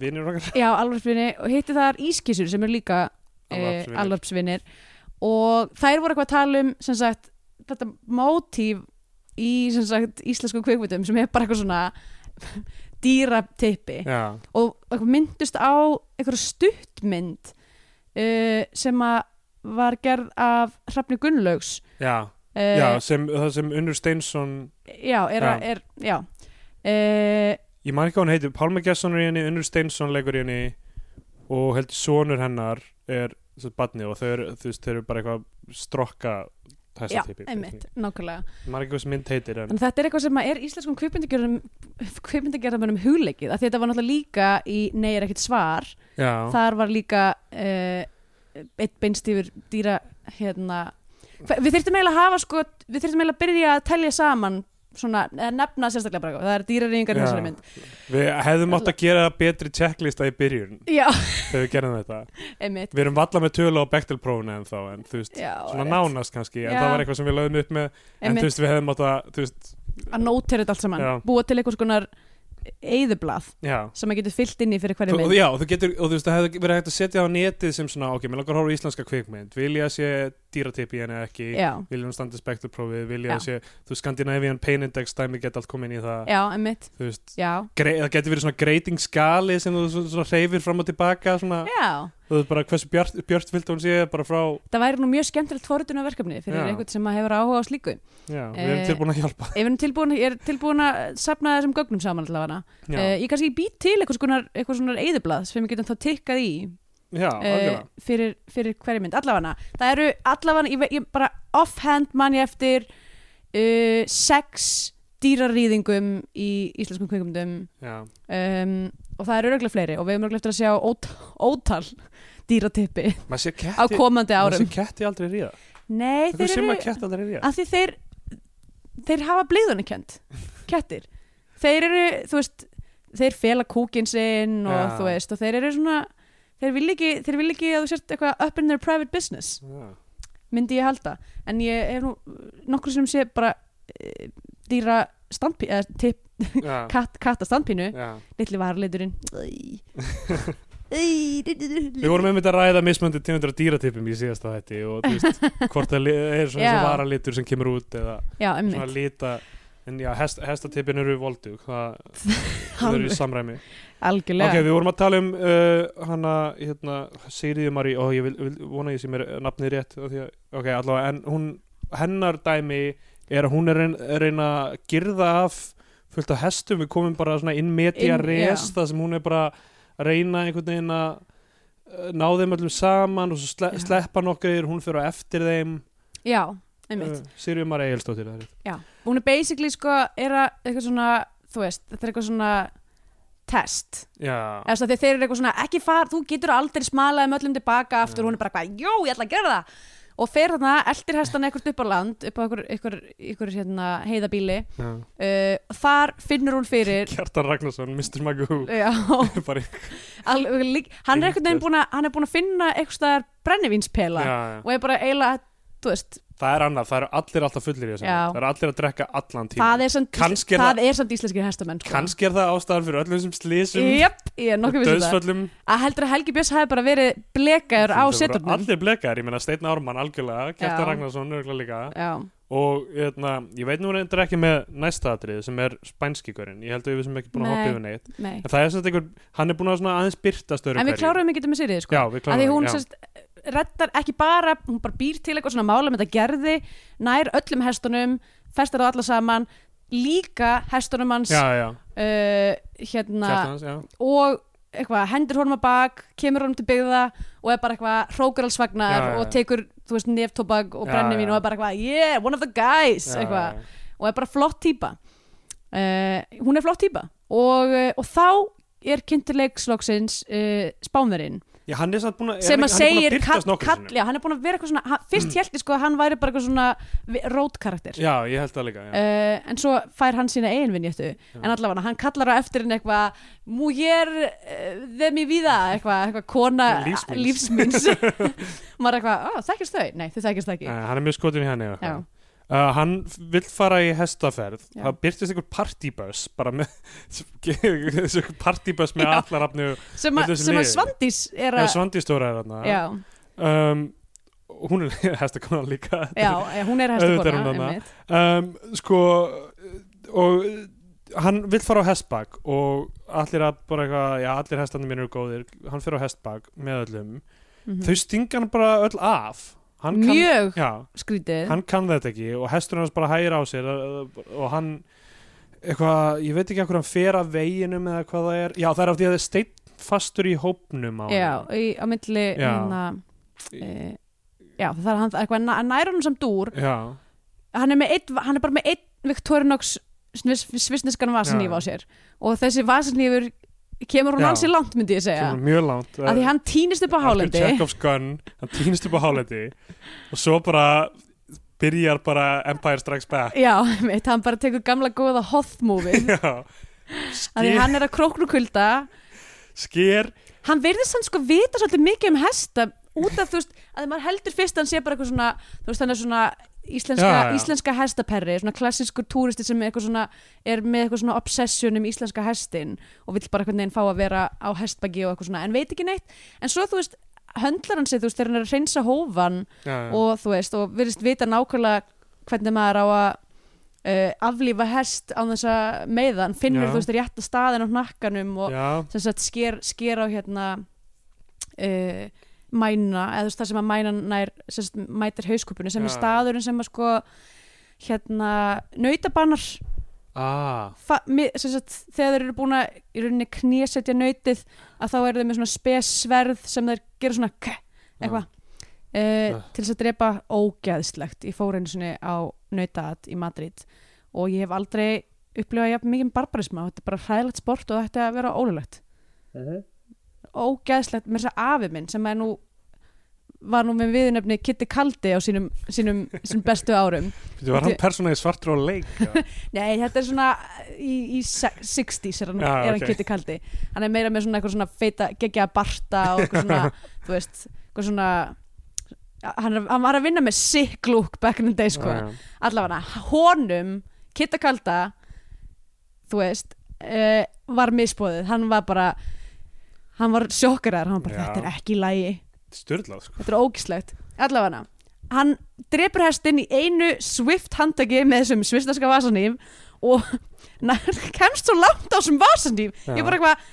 vinnir okkar
já, alvarpsvinni, og hitti þar Ískissur sem er líka eh,
Alvarpsvinir.
alvarpsvinnir og þær voru eitthvað að tala um sem sagt, þetta mótíf í sem sagt, íslensku kveikmyndum sem er bara eitthvað svona dýratippi
já,
og eitthvað myndust á eitthvað stuttmynd uh, sem að var gerð af Hrafni Gunnlaugs
já,
uh,
já sem, það sem Unnur Steinsson
já, er,
Já.
já. Er, já. Uh,
ég man ekki hvað hún heitir, Pálmi Gesson er í henni Unnur Steinsson leikur í henni og heldur sonur hennar er þessi badni og þau eru, þú veist, þau eru bara eitthvað strokka
já,
hestatippi
einmitt, nákvæmlega
man ekki hvað sem mynd heitir en,
Þannig að þetta er eitthvað sem að er íslenskum kvikmyndagerðamönnum hugleikið að þetta var náttúrulega líka í Nei er ekkert svar
já,
þar var líka uh, eitt beinst yfir dýra hérna við þyrftum eiginlega að hafa sko við þyrftum eiginlega að byrja að telja saman svona, eða nefna sérstaklega bara eitthvað, það er dýrareyingar í
Já.
þessari mynd
við hefðum átt að gera betri checklista í byrjun
já,
þegar við gerðum þetta
einmitt
við erum valla með tölu á Bechtel-prófuna en þá en þú veist,
já,
svona
rétt.
nánast kannski en
Já.
það var eitthvað sem við lögum upp með en þú
einmitt,
veist, við hefðum átt að þú veist,
að nótera þetta allt saman
Já.
búa til eitthvað skonar eyðublað
já
sem maður getur fyllt inn í fyrir
Þú,
hverju
og,
mynd
já, og þú getur, og þú veist, það hefði verið hægt að setja á netið sem svona, ok, mér langar að horfa á íslenska kvikmynd vil ég að sé dýratipi en ekki
já,
vil ég að standa spekturprófið, vil ég að sé þú veist, Scandinavian Pain Index dæmi get allt komið inn í það
já, einmitt
þú veist,
já,
grei, það getur verið svona greiting skali sem þú svona, svona reyfir fram og tilbaka svona,
já,
þú veist bara hversu bjart, bjart vilt hún sé bara frá,
það væri nú mjög skemmtilegt forutuna fyrir
Já.
einhvern sem að hefur áhuga á slíku ef
já, við erum
Eh,
tilbúin að hjálpa
við erum tilbúin, ég er tilbúin að safna þessum gögnum saman allavega
já,
uh, ég kannski být til eitthvað svona, eitthvað svona eyðublað sem við getum þá tikkað í
já, algjörlega
uh, fyrir, fyrir hverju mynd allavega, það eru allavega ég, ve- ég bara offhand mann ég eftir uh, sex dýrarýðingum í íslenskum kvikmyndum ehm,
Já,
um, og það eru örgulega fleiri og við erum örgulega eftir að sjá ót, ótal dýratippi
maður sé
á
ketti,
komandi
maður
árum
sé ketti aldrei ríða
Nei,
það
þeir
er sem
eru
að ketti aldrei ríða
að því þeir þeir hafa blíðunikend kettir þeir eru, þú veist þeir fela kúkin sinn og
Já.
þú veist og þeir eru svona þeir vil ekki, þeir vil ekki að þú sért eitthvað up in their private business
Já.
myndi ég halda en ég er nú nokkur sem sé bara e, dýra standpí eða tipp,
Já.
kat, katta standpínu
Já.
litli varleiturinn
Við vorum einmitt að ræða mismöndi tíundra dýratipum í síðasta þætti og þú veist, hvort það li- er svona eins og
Já.
varalitur sem kemur út eða
já,
svona
emmitt
lita en já, hest, hestatipin eru voldug það það eru í samræmi ok,
algjörlega
við vorum að tala um uh, hana, hérna, Sigriði Marí og ég vil, vil vona ég sem er nafnið rétt af því að, ok, allavega, en hún hennar dæmi er að hún er reyn- er reyna að girða af fullt af hestum, við komum bara svona inn media
Inn-
res,
já.
það sem hún er bara að reyna einhvern veginn að uh, ná þeim öllum saman og svo sle
Já.
sleppa nokkur, hún fyrir á eftir þeim Eh,
já, emmitt
Sigriði Marí Egilstóttir það er rétt.
Já, hún er basically sko er að eitthvað svona, þú veist, þetta er eitthvað svona test,
já,
eða svo þegar þeir eru eitthvað svona ekki far, þú getur aldrei smalað um öllum tilbaka aftur, hún er bara eitthvað, jó, ég ætla að gera það og fer þarna, eldir hestana eitthvað upp á land upp á eitthvað, eitthvað, eitthvað hérna, heiðabíli
já.
uh, þar finnur hún fyrir
Kjartan Ragnarsson, Mr. Magoo
já,
bara
alveg, lík- hann er eitthvað búin að, hann er búin að finna eitthvað brennivínspela
Já, já.
og er bara eiginlega, þú veist
það er annað, það eru allir alltaf fullir í þessu
Já.
það eru allir að drekka allan tíma
það er samt,
Kannski er
það er samt íslenskir hestamenn sko.
kannski er það ástæðan fyrir öllum þessum slísum
Jöp, ég er nokkuð um vissið það
döðsföllum
að heldur að Helgi Björns hafi bara verið blekaður á seturnum
allir blekaðir, ég meina Steinn Ármann algjörlega Kjartan
Já.
Ragnarsson örgulega líka
já,
og hérna, ég veit nú reyndar ekki með næsta atrið sem er spænskíkurinn ég held að við sem ekki búin að
Nei.
hoppa yfir neitt
nei
en það er sem einhver, hann er búin að svona aðeins byrta störu
en við kláruðum ekki þetta með Sirrið sko
já,
að
við
því
klárum
hún sérst reddar ekki bara hún bara býr til eitthvað svona mála með þetta gerði nær öllum hestunum festar það alla saman líka hestunum hans
já,
uh,
já,
hérna
Kjartan hans, já
og eitthvað, hendur honum að bak kemur honum til byggða og er bara eitthvað hrókur alls
Já,
fagnar
já, já.
og tekur, þú veist, neftobag og
Já,
brennivín
já.
og er bara eitthvað, yeah, one of the guys
Já,
eitthvað,
já.
og er bara flott típa uh, hún er flott típa og, uh, og þá er kynntilegsloksins uh, spánverinn
Já, hann er samt búin að er
sem
ekki-
að
hann er búinn
segir
birtast Mm.
kall,
nokkrum
kall,
sinnum.
já, hann er búin að vera eitthvað svona hann, fyrst held ég sko að hann væri bara eitthvað svona eh, vi- rótkarakter
Já, ég held það líka já.
Uh, en svo fær hann sína eigin vinjættu en allavega hann kallar á eftir henni eitthvað mújér uh, þeim í víða eitthvað, eitthvað kona
Lífs míns.
lífsmins og maður er eitthvað, ó, þekkist þau? Nei, þau þekkist það ekki
Nei, Eh, hann er mjög skotin í henni eða
Já.
eitthvað. uh, hann vill fara í hestaferð
Já.
það byrtist einhver partybus bara með þessu einhver partybus með
Já.
allarafnu
sem, að-
Þetta er þessi
sem að
liður.
Svandís er
eða
að
svandistóra er þarna
já,
um, hún er hestakona líka
já, já, hún er
Auðvitað er
hestakona
hún þarna.
einmitt.
um, sko og hann vill fara á hestbak og allir að bara eitthvað, já allir hestandi mínu eru góðir hann fyrir á hestbak með öllum
Mhm.
þau stinga hann bara öll af hann kann,
mjög
já,
skrítið
hann kann þetta ekki og hestur hans bara hægir á sér uh, og hann eitthvað, ég veit ekki hvað hann fer af veginum eða hvað það er, já það er af því að það er steinn fastur í hópnum á
já, í, á milli
Já.
hérna, uh, já, það er hann eitthvað, hann nær honum sem dúr
hann já,
hann er, með einn, hann er bara með einn Victorinox svis, svisneskan vasanýf
Já.
á sér og þessi vasanýfur kemur hún
Já.
ansi langt myndi ég segja
kemur mjög langt
að því hann týnist upp á hálendi
Chekhov's gun, hann týnist upp á hálendi og svo bara byrjar bara Empire Strikes Back
já, mitt, hann bara tekur gamla góða hothmovið
já,
að því
sker,
hann er að króknukulda
sker
hann verðist hann sko vita svolítið mikið um hesta út af þú veist, að maður heldur fyrst að hann sé bara eitthvað svona, þú veist, hann er svona íslenska,
Já, já.
íslenska hestaperri, svona klassískur túristi sem er eitthvað svona, er með eitthvað svona obsession um íslenska hestin og vill bara einhvern veginn fá að vera á hestbaki og eitthvað svona, en veit ekki neitt, en svo þú veist höndlar hann sig, þú veist, þegar hann er að reynsa hófan
já, já.
og þú veist, og verðist vita nákvæmlega hvernig maður á að uh, aflífa hest á þess að meiðan, finnur
Já.
þú veist rétta staðin á hnakkanum og,
já,
sem sagt sker, sker á hérna uh, mæna eða þú veist það sem að mænan nær sem sagt, mætir hauskupinu sem
Já,
er
já.
staðurinn sem að sko hérna nautabannar
ah,
fa- mi- sem sagt, þegar þeir eru búin að í rauninni knésetja nautið að þá eru þeir með svona spesverð sem þeir gera svona k eitthvað uh,
Ah.
til þess að drepa ógeðslegt ég fór einu sinni á nautaat í Madrid og ég hef aldrei upplifað jafn mikið barbarisma og þetta er bara hræðilegt sport og þetta er að vera ólulegt ógæðslegt með þess að afi minn sem er nú var nú með viðnefni Kitty Kaldi á sínum, sínum, sínum bestu árum
Þú var hann persónagi svartur á leik já.
Nei, þetta er svona í, í se- 60s er hann,
Já,
er hann
ok.
Kitty Kaldi hann er meira með svona eitthvað svona feita geggja barta og eitthvað svona, þú veist eitthvað svona hann, er, hann var að vinna með sick look back in the day sko,
Já, já.
allavega honum, Kitty Kalda þú veist uh, var misbóðið, hann var bara hann var sjokkaraður hann var bara,
Já.
þetta er ekki í lægi
Sturlað sko
þetta er ógislegt allavega hann drepur hestinn í einu swift handtaki með þessum svistarska vasanýf og na, kemst svo langt á þessum vasanýf ég er
Já.
bara eitthvað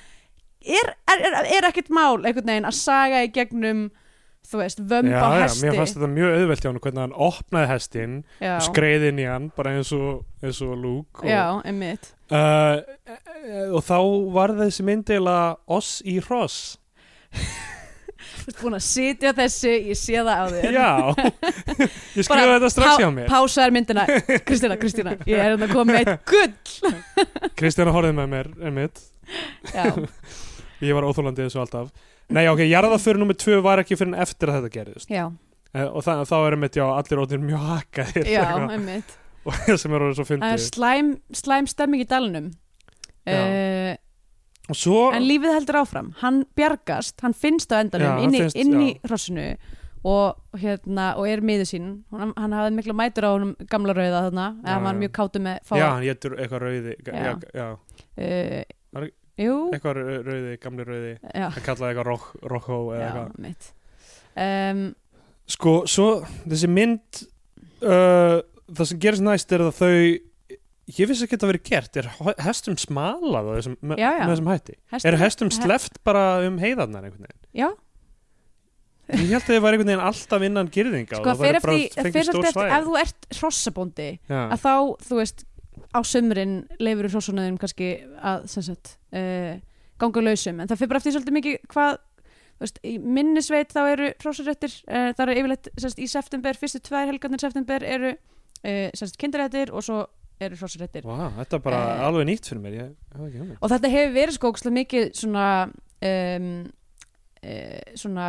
er, er, er, er ekkert mál einhvern veginn að saga í gegnum þú veist,
Já,
vömba
já,
hesti
mér fannst þetta mjög auðvelt hjá hann hvernig hann opnaði hestinn,
já,
skreið inn í hann bara eins og, eins og Luke og,
já, einmitt
Uh, og þá var þessi myndila oss í hross
Þú ert búin að sitja á þessu, ég sé það á þér
Já, ég skrifaði þetta strax hjá mér
Pásaðar myndina, Kristina, Kristina Ég er hérna komið með eitt gull
Kristjana horfði með mér, einmitt
Já,
Ég var óþólandið þessu alltaf Nei, ok, jarðaföru nummer tvö var ekki fyrir en eftir að þetta gerðist
já,
uh, Og það, þá er einmitt, já, allir óttir mjög hakaðir
já,
eitthvað.
einmitt
Og sem er orðið svo
Það er
fyndið
Eh, slæm, slæm stemming í dalnum uh,
Og svo,
En lífið heldur áfram Hann bjargast, hann finnst á endanum
Já, hann
inn, í-
finnst,
inn í
já.
hrossinu og, hérna, og er miður sín hann, hann hafði mikla mætur á honum gamla rauða þarna
Já,
eða hann var
já.
mjög kátu með fá
já, hann getur eitthvað rauði Já,
Já.
já,
uh,
Var-
Jú
eitthvað rau- rauði, gamli rauði
Já,
Hann kallaði eitthvað rock, rockhó eða
já
eitthvað
mitt um,
Sko, svo þessi mynd uh, það sem gerist næst er að þau ég vissi ekki að þetta verið gert er ho- hestum smalað á þessum, me,
Já, já.
með þessum hætti
hestum,
er hestum
he-
sleft bara um heiðarnar einhvern veginn
Já,
ég held að þau var einhvern veginn alltaf innan gyrðinga
sko
og það
fyrir
væri
eftir, fyrir
bara fengið
eftir,
stór
eftir
svæði.
ef þú ert hrossabóndi
Já.
að þá, þú veist, á sömurinn leifur þú hrósunaðum kannski að sem sagt, uh, ganga lausum en það fyrir bara eftir svolítið mikið hvað þú veist, í minnisveit þá eru hrósaréttir, uh, það eru yfirleitt sem sagt, í september, fyrstu tvær helgarnir september eru uh, sagt, kindaréttir og svo eru hrósaréttir
Vá, þetta er bara
Eh.
alveg nýtt fyrir mér ég, ég, ég, ég,
og þetta hefur verið sko ógstlega mikið svona um, uh, svona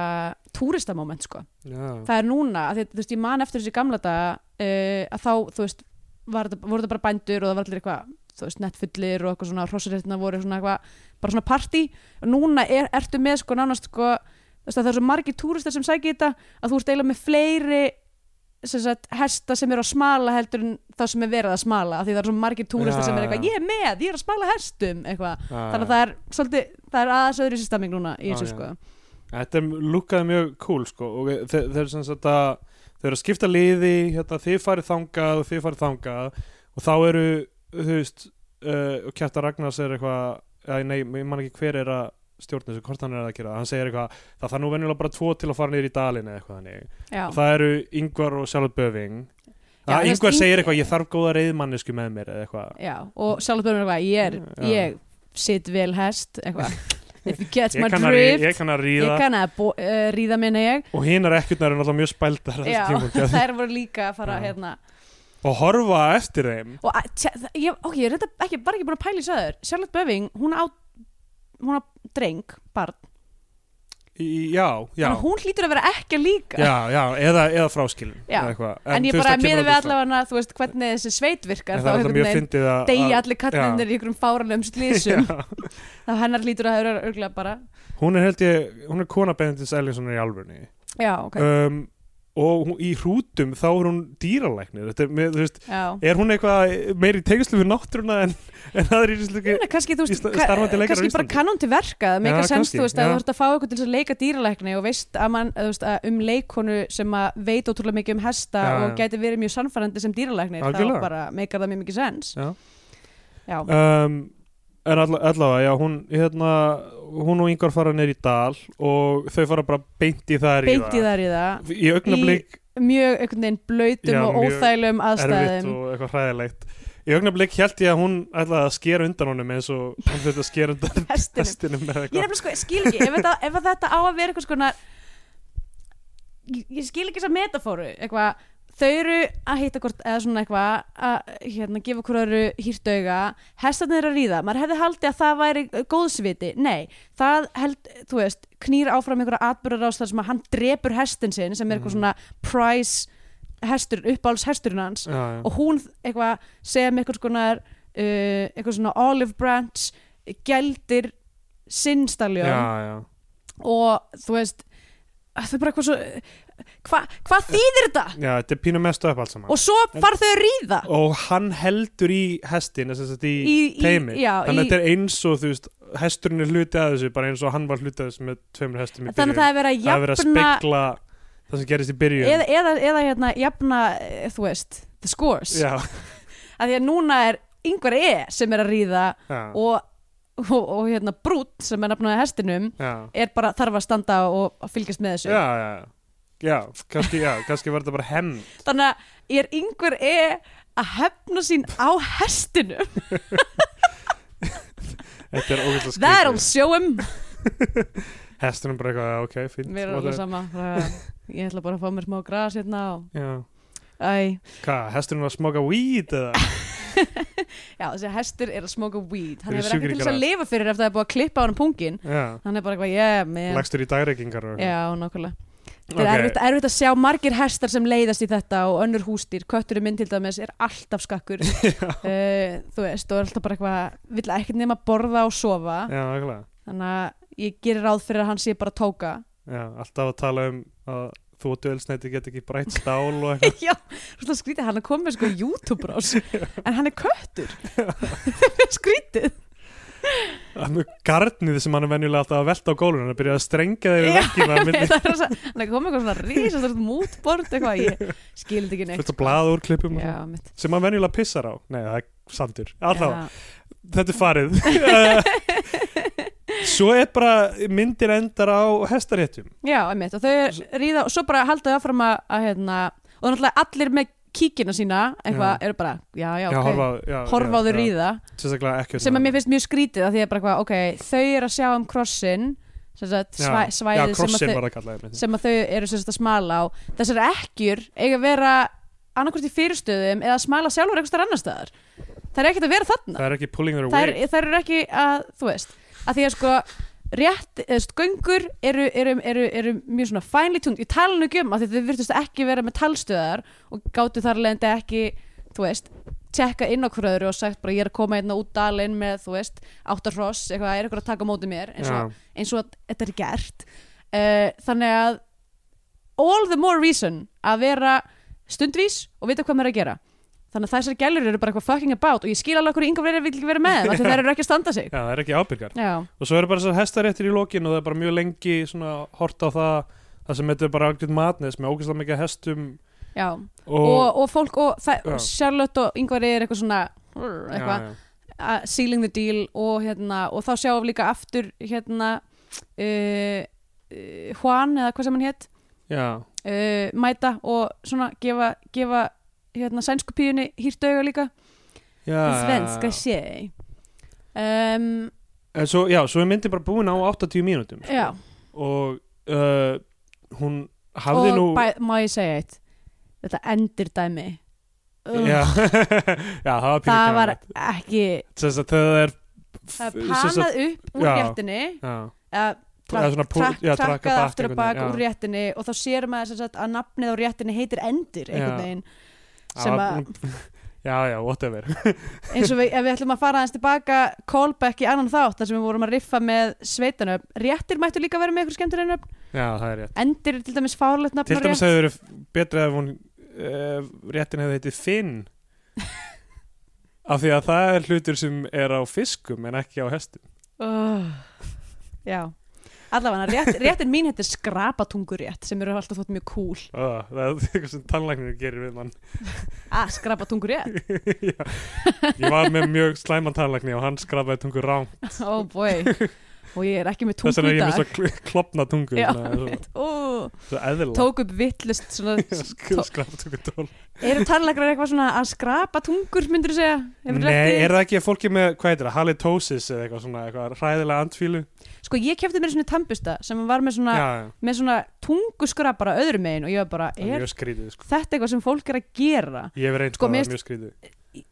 túristamoment sko
já,
það er núna, að því, að, þú veist, ég man eftir þessi gamla daga uh, að þá, þú veist var, þetta- voru þetta bara bændur og það var allir eitthvað þú veist, nettfullir og eitthvað svona hrossaréttina voru svona eitthvað, bara svona partí og núna er, ertu með sko nánast sko þú veist, að það er svo margir túristar sem sækja þetta að þú ert eiginlega með fleiri sem sagt, hesta sem eru að smala heldur en það sem er verið að smala af því það er svo margir túristar
Já,
sem eru eitthvað
já.
ég er með, ég er að smala hestum eitthvað þannig að
já.
það er svolítið, það er aðeins öðru sérstemming núna í
Já,
þessu
já.
sko
þetta lúkaði mjög cool sko. og þe- þeir eru sem sagt að þeir eru að skipta liði hérna, þið farið þangað og þið farið þangað og þá eru þú veist uh, og Kjartan Ragnars er eitthvað að, nei, ég man ekki hver er að stjórna þessu hvort hann er að gera, það. hann segir eitthvað það þarf nú venjulega bara tvo til að fara niður í dalinu eitthvað þannig,
Já.
Og það eru Ingvar og Sjálfur Böving
Já, þú
að
veist,
Ingvar segir
Ing-
eitthvað, ég þarf góða reyðmannisku með mér eða eitthvað
Já, og sjálf börnum eitthvað, ég er,
Já.
ég sit vel hest, eitthvað If you catch my
ég kann, að, rí-
drift,
ég kann að
ég
ríða
kann að bó- uh, ríða minna ég
og hinn er ekkjurnar er náttúrulega mjög spældar á þessu
Já,
tímapunkti.
þær voru líka að fara
Já.
hérna
og horfa eftir þeim
Og að- tja, það- ég, ok, ég er reynda ekki, bara ekki búin að pæla í söður Charlotte Böving, hún á hún á dreng, barn
Í- Já, já,
Þannig að hún hlýtur að vera ekki að líka
já, já eða, eða fráskilin
Já.
eða eitthvað.
En, ég
þú veist,
bara
það kemur
miða við
aldrei fram.
allavega þú veist hvernig þessi sveit virkar
En það er alltaf mjög
veginn
fyndið að
deyja
að-
allir kallinir í ykkurum fáranum slísum þá hennar lítur að það eru örgulega bara
Hún er held ég, hún er kona Benedins Ellingssonar í alvörni
Já, ok,
um, og hún, í hrútum þá er hún dýralæknir Þetta er, með, þú veist,
já
er hún eitthvað meiri tegislu við náttúruna en, en aðri í þessu
Meina, kannski, þú
í
veist,
sta-
ka-
starfandi leikarar á
kannski bara
Íslandi.
kann hún til verka það
Já,
meika sens,
kannski,
þú veist, að
já.
þú ert að fá eitthvað til þess að leika dýralækni og veist, að mann, að, þú veist að um leikonu sem að veit ótrúlega mikið um hesta
Já,
og
já.
gæti verið mjög sannfærandi sem dýralækni þá
Algjörlega.
bara meikar það mjög mikið sens
Já.
já,
um, en alla, allavega, já, hún hérna, hún og Ingvar fara neyri í dal og þau fara bara beint í það
beinti þær í það
í augnablík
mjög einhvern veginn blöytum
Já,
og
mjög
óþægilegum
erfitt
aðstæðum
og eitthvað hræðilegt í augnablik held ég að hún ætlaði að skera undan honum eins og hann þurfti að skera undan
hestinum
hestinum
ég
eða eitthvað
nefnilega sko, skil ekki ef þetta, ef þetta á að vera eitthvað skona ég, ég skil ekki þess að metafóru eitthvað þau eru að hitta hvort eða svona eitthvað að hérna, gefa hvort öðru hýrt auga hestarnir eru að ríða, maður hefði haldið að það væri góðsviti, nei það held, þú veist, knýr áfram einhverja atbyrðarás þar sem að hann drepur hestin sinn sem er eitthvað svona prize hestur, uppáhalds hesturinn hans
já, já.
og hún eitthvað segja með eitthvað svona uh, eitthvað svona olive branch gældir sinnstaljón
já, já.
og þú veist þau bara eitthvað svo hva, hvað þýðir þetta?
já, þetta er pínu mestu upp allt saman
og svo far þau að ríða
og hann heldur í hestin þess að í,
Í- í-
teimi
já,
þannig að
í-
þetta er eins og þú veist hesturinn er hluti að þessu, bara eins og hann var hluti að þessu með tveimur hestum í
þannig að það er verið að
það er verið að
jafna
spekla það sem gerist í byrjun
eða, eða, eða hérna jafna eh, þú veist, the scores
já,
að því að núna er yngvar E sem er að ríða
já,
og, og, og hérna Brút sem er nafnaði hestinum
já,
er bara þarf að standa og fylgjast með þessu
já, já. Já, kannski, já, kannski var þetta bara hemm
þannig að ég er yngvar E að hefna sín á hestinum
Þetta er ógæslega
that'll
skrítið
show him
Hesturinn bara eitthvað, ok, fínt
mér er
Og
alveg
það-
sama bara, ég ætla bara að fá mér smá gras hérna og
Já,
Æ,
hvað, hesturinn var að smoka weed eða
já, þessi hestur er að smoka weed hann
Þeir eru
hefur ekki
sjúkir í
til þess að
gras.
lifa fyrir eftir að það er búið að klippa á hann pungin
Já,
hann er bara eitthvað, yeah, man
lagstur í dagreikingar og eitthvað.
já, nákvæmlega þetta
Ok.
er erfitt, erfitt að sjá margir hestar sem leiðast í þetta og önnur hústýr, kötturinn minn til dæmis er alltaf skakkur uh, þú veist, og er alltaf bara eitthvað vill ekkert nema borða og sofa
Já, nákvæmlega
þannig að ég gerir ráð fyrir að hann sé bara að tóka
Já, alltaf að tala um að þú og dölsnæti get ekki brætt stál og eitthvað
já, svona skrítið, hann er komið með sko YouTube-rás en hann er köttur skrítið
Að með garnið sem hann er venjulega alltaf að velta á gólun hann er byrjað að strengja þeir
Já,
vekkina
Nei,
með
það er rosa- Þannig að koma eitthvað svona rísast mútbord eitthvað, ég skil þetta ekki neitt
fullt af blaða úr klippum
Já, mitt
sem hann venjulega pissar á Nei, það er sandur Allá,
Já.
þetta er farið Svo er bara myndir endar á hestaréttum
Já, einmitt, og þau er- ríða og svo bara halda þau áfram að, að hérna, og náttúrulega allir með kíkina sína eitthvað, eru bara, já, já, ok
horfa, já,
horfa á
já,
þau
já.
ríða,
Sérstaklega ekki
sem að mér finnst mjög skrítið af því að bara eitthvað, ok, þau eru að sjá um krossin sem sagt, svæ,
Já,
svæðið sem, að
krossin
þau,
var að kalla þeim
sem að þau eru sem sagt að smala á þessar ekkjur eiga að vera annarkvort í fyrirstöðum eða að smala sjálfur einhvers þar annar staðar það er ekkert að vera þarna
Það er ekki pulling their
þær,
away
þær eru ekki að, þú veist að því að sko rétt, eða veist, göngur eru, eru, eru, eru mjög svona finely tuned, ég tala nú ekki um að þið virtust ekki vera með talstöðar og gáttu þar leðandi ekki, þú veist tjekka inn okkur öðru og sagt bara ég er að koma hérna út dalinn með, þú veist, áttar hross eitthvað, er eitthvað að taka á móti mér eins og, eins og að þetta er gert uh, þannig að all the more reason að vera stundvís og vita hvað maður er að gera þannig að þessar gælur eru bara eitthvað fucking about og ég skil alveg okkur yngur verið vil ekki vera með þeim af því að þær eru ekki að standa sig
Já, það er ekki ábyrgar
já,
Og svo eru bara þessar hestaréttir í lokin og það er bara mjög lengi svona hort á það það sem þetta er bara algjörn matnes með ógæslega mikið af hestum
já.
og,
Og, og fólk og, það,
Já.
og Charlotte og yngvar er eitthvað svona eitthvað,
já, já.
uh, sealing the deal og, hérna, og þá sjáum við líka aftur hérna uh, uh, Juan eða hvað sem hann hétt
Já,
uh, mæta og svona gefa, gefa hérna sænsku píunni hýrt auga líka
já,
í svenska sé um,
En svo, já, svo er myndin bara búin á 80 mínútum sko.
já
og uh, hún hafði
og
nú
bæ, má ég segja eitt þetta endir dæmi Ugh,
já, já, það var
það var
pínir
ekki
Þess að það er
það
sem
er
sagt-
panað upp úr
já.
réttinni
Já,
eða
Eða svona pú-
trak-
já, trakkað
trakkað
back
aftur að
einhvern
bak
veginn,
úr
já.
réttinni og þá sér maður sem sagt að nafnið á réttinni heitir endir einhvern
Já.
veginn
Já,
sem að
hún- Já, já, whatever
eins og við, ef við ætlum að fara aðeins tilbaka callback í annan þátt þar sem við vorum að riffa með sveitanöfn réttir mættu líka vera með ykkur skemmtur en öfn
Já, það er rétt
endir er til dæmis fárlegt nafn
Til
á
dæmis
rétt.
hefði verið betra ef hún uh, réttin hefði heitið Finn af því að það er hlutur sem er á fiskum en ekki á hestum
oh, já allavega rétt, réttin mín heitir skrapatungurétt sem eru alltaf þótt mjög cool
oh, það er eitthvað sem tannlæknir gerir við mann
að Ah, skrapatungurétt,
Já. ég var með mjög slæman tannlækni og hann skrapaði tungur rám
oh boy og ég er ekki með
Þess
tungu
vegna er
í
ég með
dag
svo kl- klofna tungu
Já,
svona, svo,
Ó,
svo eðla
tók upp vittlust svona, tó-
Skraptungu tól
eru tannlækrar eitthvað svona að skrapa tungur myndur þú segja Hefurðu lent
Nei,
í-
er það ekki að fólki með, hvað heitir það, halitosis eða eitthvað svona, eitthvað hræðilega andfílu
sko ég kefti mér svona tannbusta sem var með svona,
Já,
með svona tunguskrapara öðrum megin og ég var bara,
það er
er
mjög skrítið sko.
þetta eitthvað sem fólk er að gera
Ég hef reynd
Sko,
sko, það,
mér
það er mjög skrítið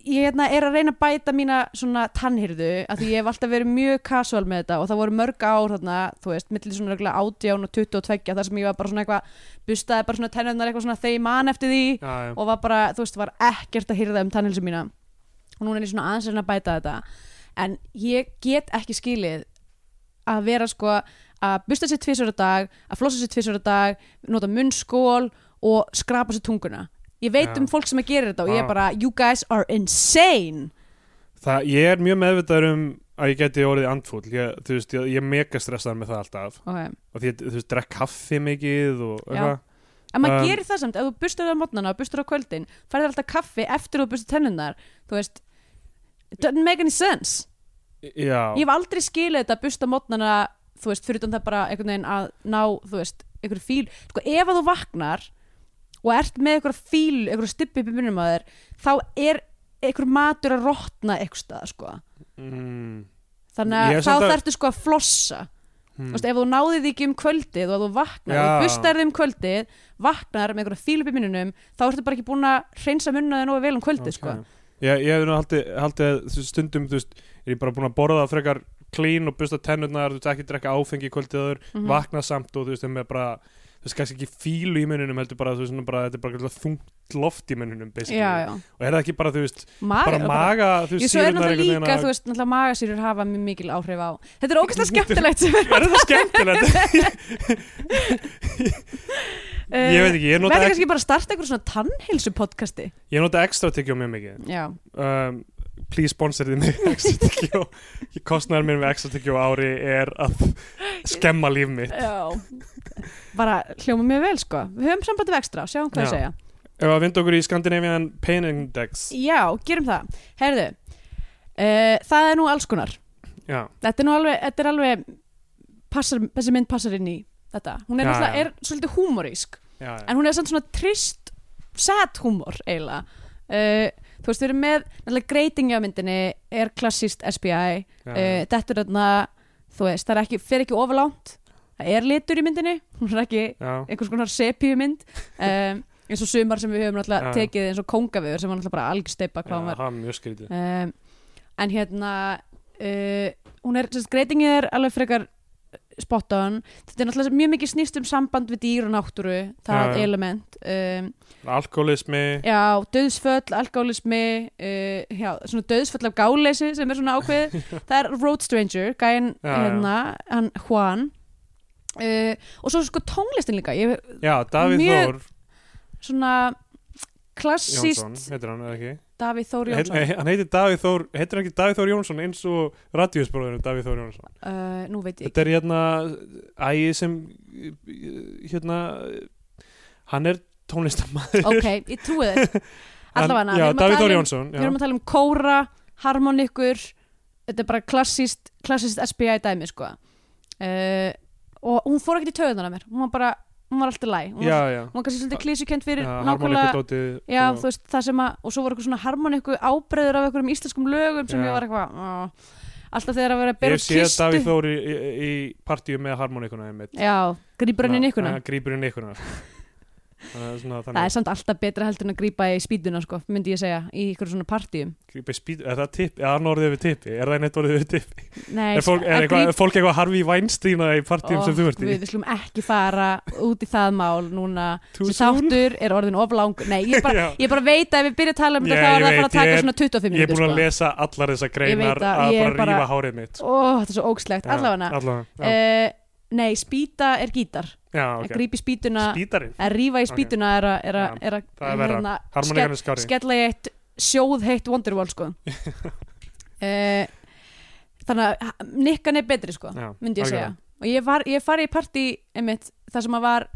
ég hérna, er að reyna að bæta mína svona tannhyrðu af því ég hef alltaf verið mjög casual með þetta og það voru mörg ár þarna, þú veist, millir svona regla 18 og 22 þar sem ég var bara svona eitthvað bustaði bara svona tennurnar eitthvað svona þegar ég man eftir því
Já, já,
og var bara, þú veist, var ekkert að hyrða um tannhilsu mína og núna er ég svona aðeins að reyna að bæta þetta en ég get ekki skilið að vera sko að busta sér tvisur að dag, að flossa sér tvisur að dag nota munnskól og skrapa sér tunguna ég veit
Já.
um fólk sem að gera þetta og ég
Já.
er bara you guys are insane
það, ég er mjög meðvitaður um að ég geti orðið andfúll ég, þú veist, ég, ég er mega stressaður með það alltaf
okay.
og því, ég, þú veist, drekk kaffi mikið og
Já. en
eitthvað
maður
Um,
gerir það samt, ef þú bustur það á mótnana og bustur á kvöldin, færði alltaf kaffi eftir þú bustur tennunar, þú veist it doesn't make any sense
Já,
ég hef aldrei skilið þetta að busta mótnana þú veist, fyrir utan það bara einhvern veginn að ná, þú veist, einhver fíl sko, ef að þú vaknar og ert með einhver fíl, einhver stippi upp í munum að þér, þá er einhver matur að rotna einhver stað, sko
mm, Ég
þannig að
er
þá
samt að-
þarftu sko að flossa
hmm.
þú veist, ef þú náðið ekki um kvöldið og að þú vaknar,
Já.
ja. þú bustar þig um kvöldið vaknar með einhverja fíl upp í mununum þá ertu bara ekki búin að hreinsa munnaði nógu vel um kvöldið, sko
Ég, ég hef nú haldið, haldið að þú veist, stundum, þú veist, er ég bara búin að borða frekar klín og busta tennurnar, þú veist, ekki drekka áfengi í kvöldið aður,
Mhm.
vakna samt og þú veist, er með bara, þú veist, kannski ekki fílu í mununum, heldur bara, þú veist, svona bara, þetta er bara eitthvað þungt loft í mununum, basically.
já, já.
Og er það ekki bara, þú veist,
Maga,
bara maga, þú
Jú, svo
veist,
er
sýrurnar
náttúrulega
einhvern
líka,
veginn
þú veist, náttúrulega magasýrur hafa mjög mikil áhrif á. Þetta er ógæslega skemmtilegt sem er,
Er það skemmtilegt? ég veit ekki, ég nota,
eh, verður
ek,
kannski bara að starta einhver svona tannheilsu podcasti.
ég nota ekstra tyggjóð mjög mikið.
Já,
Um, please sponsor þið mig ekstra tyggjóð. Kostnæður mér með ekstra tyggjóð ári er að skemma líf mitt.
já. Bara hljóma mjög vel, sko. Við höfum sambandi við ekstra, sjáum hvað
Já.
það segja.
Ef að vinda okkur í Scandinavian Pain Index
Já, gerum það. Herðu, uh, það er nú alls konar.
Já,
Þetta er nú alveg, þetta er alveg, passar, þessi mynd passar inn í þetta. Hún er
Já,
náttúrulega,
já.
er svolítið húmorísk.
já, já.
en hún er samt svona trist sad humor eiginlega uh, þú veist við erum með náttúrulega greitingi á myndinni er klassist SBI
já,
uh, dettur þarna þú veist það er ekki, fer ekki ofurlánt það er litur í myndinni hún er ekki
já,
einhvers konar sepíu mynd um, eins og sumar sem við höfum náttúrulega
Já.
tekið eins og kongaviður sem var náttúrulega bara algjörsteipa hvað
já,
hún var
það er mjög skrítið
um, en hérna uh, hún er, sérst, greitingið er alveg frekar eh, spot on þetta er náttúrulega mjög mikið snýst um samband við dýr og náttúru, það
Já, já.
element um,
Alkoholismi,
já, döðsföll, algálismi uh, já, svona döðsföll af gáleysi sem er svona ákveð, það er Road Stranger, gæinn
Já, já.
hérna hann Juan uh, og svo sko tónlistin líka ég,
já, Davíð
Mjög-
Þór
svona
Jónsson,
klassíst
heitir hann eða ekki
Davíð Þór
Heit,
Jónsson
nei, Hann heitir Davíð Þór, heitir hann ekki Davíð Þór Jónsson eins og radíusbróðurinn Davíð Þór Jónsson
uh, nú veit ég
Þetta er hérna ægi sem hérna hann er tónlistamæður
ok, ég trúi þér allavega,
Já,
við erum að
Davíð
tala
Þór
um-
Jónsson
við erum að tala um kóra, harmonikur þetta er bara klassist klassist SBI dæmi sko uh, og hún fór ekkert í töðunar að mér hún var bara, hún var alltaf læg hún,
Já,
var-
já,
hún var kannski svolítið klísukent um- fyrir
já
nákvæmlega
harmonikudótið
já,
og-
þú veist, það sem að, og svo voru eitthvað svona harmoniku ábreyður af einhverjum íslenskum lögum sem
Já.
ég var eitthvað "Ah." alltaf þegar að vera að bera
Ég
út
sé
kistu
Davíð Þór í, í, í partíu með harmonikuna einmitt
já, grípur henni
Já,
nikkuna
já, grípur inn ykkurna það er svona
það er
þannig
samt alltaf betra heldur en að grípa í spýtuna sko, myndi ég segja, í ykkur svona partíum
grípur spýt, er það tipp, er hann orðið við tippi er það neitt orðið við tippi
Nei,
er fólk,
að
er eitthvað, er fólk eitthvað Harvey Weinsteina í
Ó,
partíum sem þú ert í
Við við slum ekki fara út í það mál núna
Too
sem
soon?
þáttur er orðin of lang Nei, ég bara,
Já.
ég bara veit að ef við byrja að tala um
Já,
þetta þá
ég
er það að fara
veit,
að taka
ég er-
svona 25
ég er
minútur
búin að
sko.
lesa allar þessar
Ég
greinar
veit að
að
ég
bara
er bara-
rífa hárið mitt sko.
Ó, þetta er svo ógslegt,
Já,
allavega
allavega, já,
uh, Nei, spýta er gítar
já,
að
ok
grípa í spýtuna
spýtarinn,
að rífa í
Ok.
spýtuna er að- er að-
Já,
er að
það er verra.
hérna,
harmonikan er
skell-
skári
skella í eitt sjóð heitt Wonderwall sko uh, Þannig að ha- nikkan er betri sko
Já,
myndi ég
algjörlega.
segja og ég, var, ég fari í partí einmitt, þar sem að var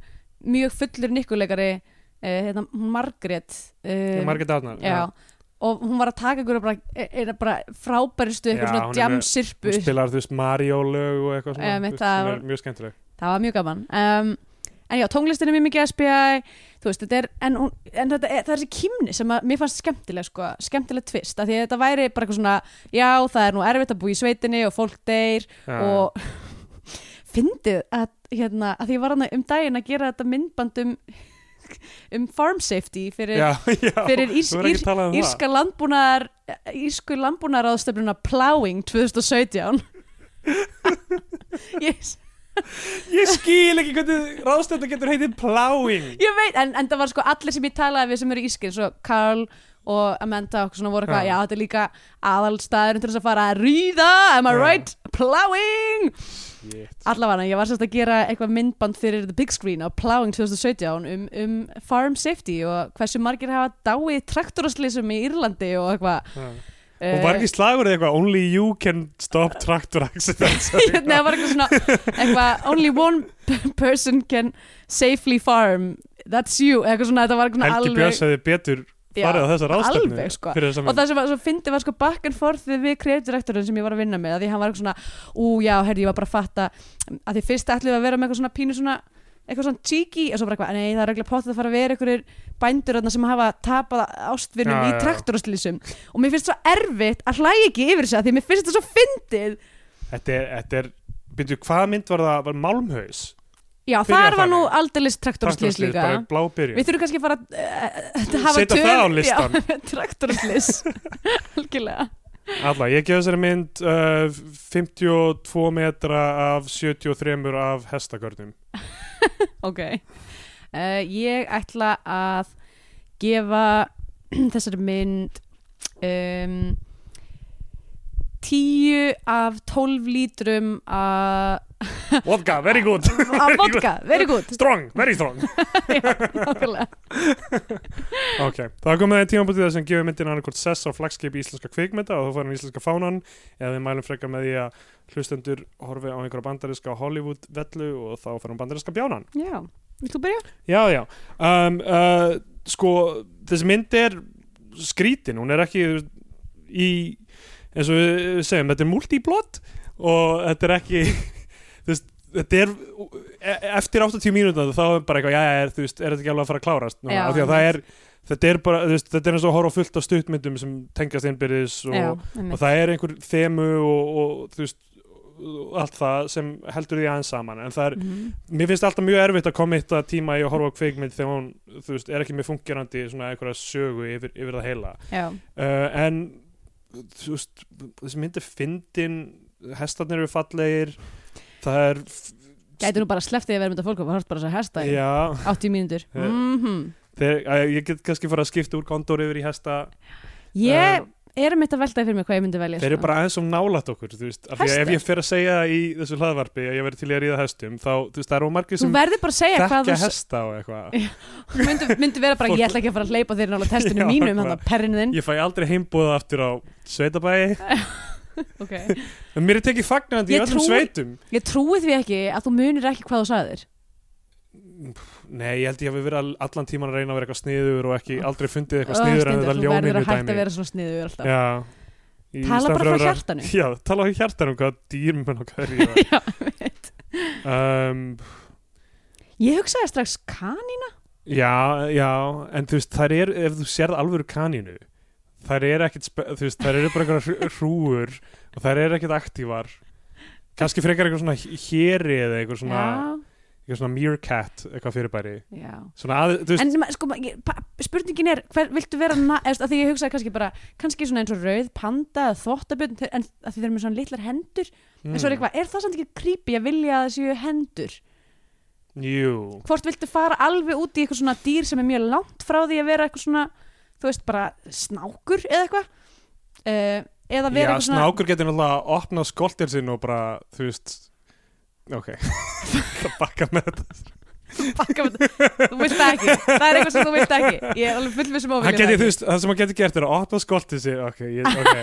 mjög fullur nikkuleikari uh, hérna, hún eh, Margrét uh,
Margrét Arnar
já, og hún var að taka einhverja bara, er, bara frábærustu
Já,
eitthvað
hún
svona
er með-
jamsirpu
Hún spilar þú veist Mario lög og eitthvað svona
Ég veit
þú veist,
það,
hún
var-
er mjög skemmtileg
það var mjög gaman um, en já, tónlistin er mjög mikið að spila þú veist, þetta er, en, hún, en þetta er, það er þessi kýmni sem að mér fannst skemmtileg sko, skemmtileg tvist, af því að þetta væri bara eitthvað svona, já, það er nú erfitt að búa í sveitinni og fólk deyr
Já.
og fyndið að, hérna, að því ég var hann um daginn að gera þetta myndband um, um farm safety fyrir,
já, já,
fyrir írs,
þú verður ekki
ír,
að tala um
írska landbúnaðar írsku landbúnaðaráðstöfnuna Plowing 2017 ég,
það ég skil ekki hvernig ráðstönda getur heitið pláing
ég veit, en, en það var sko allir sem ég talaði við sem eru ískir, svo Karl og Amanda og svona voru eitthvað,
Já.
já þetta er líka aðalstaðurinn til þess að fara að ríða am I
Já.
right? Plowing
Shit.
Allavega, ég var sérst að gera eitthvað myndband fyrir The Big Screen á Plowing 2017 um, um farm safety og hversu margir hafa dáið í traktoraslýsum í Írlandi og eitthvað Eh,
Já. og var ekki slagur eða eitthvað only you can stop tractor accidents
Nei, það var eitthvað svona eitthvað, Only one p- person can safely farm That's you Eitthvað svona, þetta var eitthvað svona
Helgi
alveg
Björns hefði betur farið á þessa ráðstefnu
alveg, sko.
fyrir þessa
og
mynd
það sem var, svo fyndi var sko back and forth við, við kreatirektorinn sem ég var að vinna með að því hann var eitthvað svona, ú já, herri, ég var bara að fatta að því fyrst ætlum við að vera með eitthvað svona pínu svona eitthvað svona cheeky og svo bara eitthvað, nei, það er reglega potið að fara að vera einhverjir bændur þarna sem hafa tapað ástvinnum
Já,
í
já, já.
traktoraslýsum og mér finnst svo erfitt að hlæja ekki yfir sig að því mér finnst þetta svo fyndið
þetta er, þetta er byrju, hvaða mynd var það, var Malmhaus
Já,
Byrjar
þar var nú
þannig.
aldeilis traktoraslýs
Traktorslys,
líka
bara blá byrjun
Við þurfum kannski að fara að eh, hafa
Setja
töl-
það á listan.
Já, traktoraslýs Algjörlega
Alla, ég gef þessari mynd uh, 52 metra af 73 af hestagörnum
Ok uh, Ég ætla að gefa þessari mynd um, tíu af tólf lítrum af
Vodka, very good
af vodka, very good
Strong, very strong
Nákvæmlega.
Ok, það er komið tímabútið sem gefur myndin annarkort sess á flagskipi íslenska kvikmynda og þá fær hann íslenska fánan eða við mælum frekar með því að hlustendur horfi á einhverja bandariska Hollywood vellu og þá fær hann bandariska bjánan
Já, vilt þú byrja?
Já, já um, uh, Sko, þessi mynd er skrítin, hún er ekki í, eins og við við segjum þetta er multiplot og þetta er ekki þú veist, þetta er e- eftir 80 mínútur þá er bara eitthvað, já, já, er, þú veist, er þetta ekki alveg að fara að klárast núna,
Já,
af því að það er þetta er bara, þú veist, þetta er eins og að horfa á fullt af stuttmyndum sem tengast innbyrðis og,
Já,
og
einmitt.
það er einhver þemu og, og þú veist og allt það sem heldur því aðeins saman en það er
Mhm.
mér finnst alltaf mjög erfitt að koma eitt að tíma í að horfa á kveikmynd þegar hún, þú veist, er ekki með fungerandi svona einhverja sögu yfir, yfir það heila
Já,
uh, en þú veist, þessi mynd er fyndin hestarnir eru fallegir það er
gæti nú bara sleftið að vera mynda fólk og hort bara þess að hesta í
já,
80 mínútur
Eh.
mm
þeir, að, ég get kannski fara að skipta úr kondor yfir í hesta
Ég er mitt að veltaði fyrir mig hvað ég myndi velja
Eh. þeir eru
sko.
bara aðeins og nálat okkur þú veist, af því að ef
Hestar?
ég fer að segja í þessu hlaðvarpi að ég verði til í að ríða hestum þá, þú veist, það eru margir
Þú
sem
verður bara að segja hvað
þekka
þú
hesta og eitthvað
myndu, myndu vera bara,
Fólk-
ég ætla ekki að fara að hleypa þér nála testinu
Já,
mínum,
bara-
þannig að perrinu þinn
ég fæ aldrei heimbúða aftur á sveitabæi
okay.
En mér er tekið fagnandi í
Ég
öllum
trúi-
sveitum
Ég trúi því ekki að þú munir ekki hvað þú sagðir
Nei, ég held ég hafi verið all- allan tíman að reyna að vera eitthvað sniður og ekki aldrei fundið eitthvað
Ó,
sniður en
Steindór,
þetta
Þú verður
ljóninu
að hætta að
dæmi
vera svona sniður alltaf
Já Í
Tala
staðinn
bara
fyrir
frá
að-
hjartanu.
Já, tala frá hjartanum, hvað dýrmenn og hvað er ég
Já, einmitt.
um,
Ég hugsaði strax kanín
Já, já, en þú veist, þær er ef þú sérð alvöru kanínu þær er ekkit, spe- þú veist, þær eru bara einhverja hrúur og þær eru ekkit aktívar kannski frekar eitthvað svona héri eða eitthvað svona, eitthvað svona meerkat eitthvað fyrirbæri
Já, já
svona að, þú veist,
En ma- sko, ma- ég- pa- spurningin er, hver, viltu vera na, eða, að því ég hugsaði kannski bara, kannski svona eins og rauð panda, eða þvottabjörn, þeir- en að því þeir eru með svona litlar hendur, en
Mm.
svo er eitthvað er það samt ekki creepy að vilja að það séu hendur
jú
hvort viltu fara alveg út í eitthvað svona dýr sem er mjög langt frá því að vera eitthvað svona þú veist bara snákur eða eitthvað uh, eða vera
Já,
eitthvað svona
snákur getur náttúrulega að opna skoltir sinn og bara, þú veist ok, það bakka með þetta
bakka, þú vilt það ekki, það er eitthvað sem þú vilt ekki ég er alveg fullvissum
Hann
óvilja
geti, þú veist, það sem hann getur gert er að opna skoltir sinn ok, ég, ok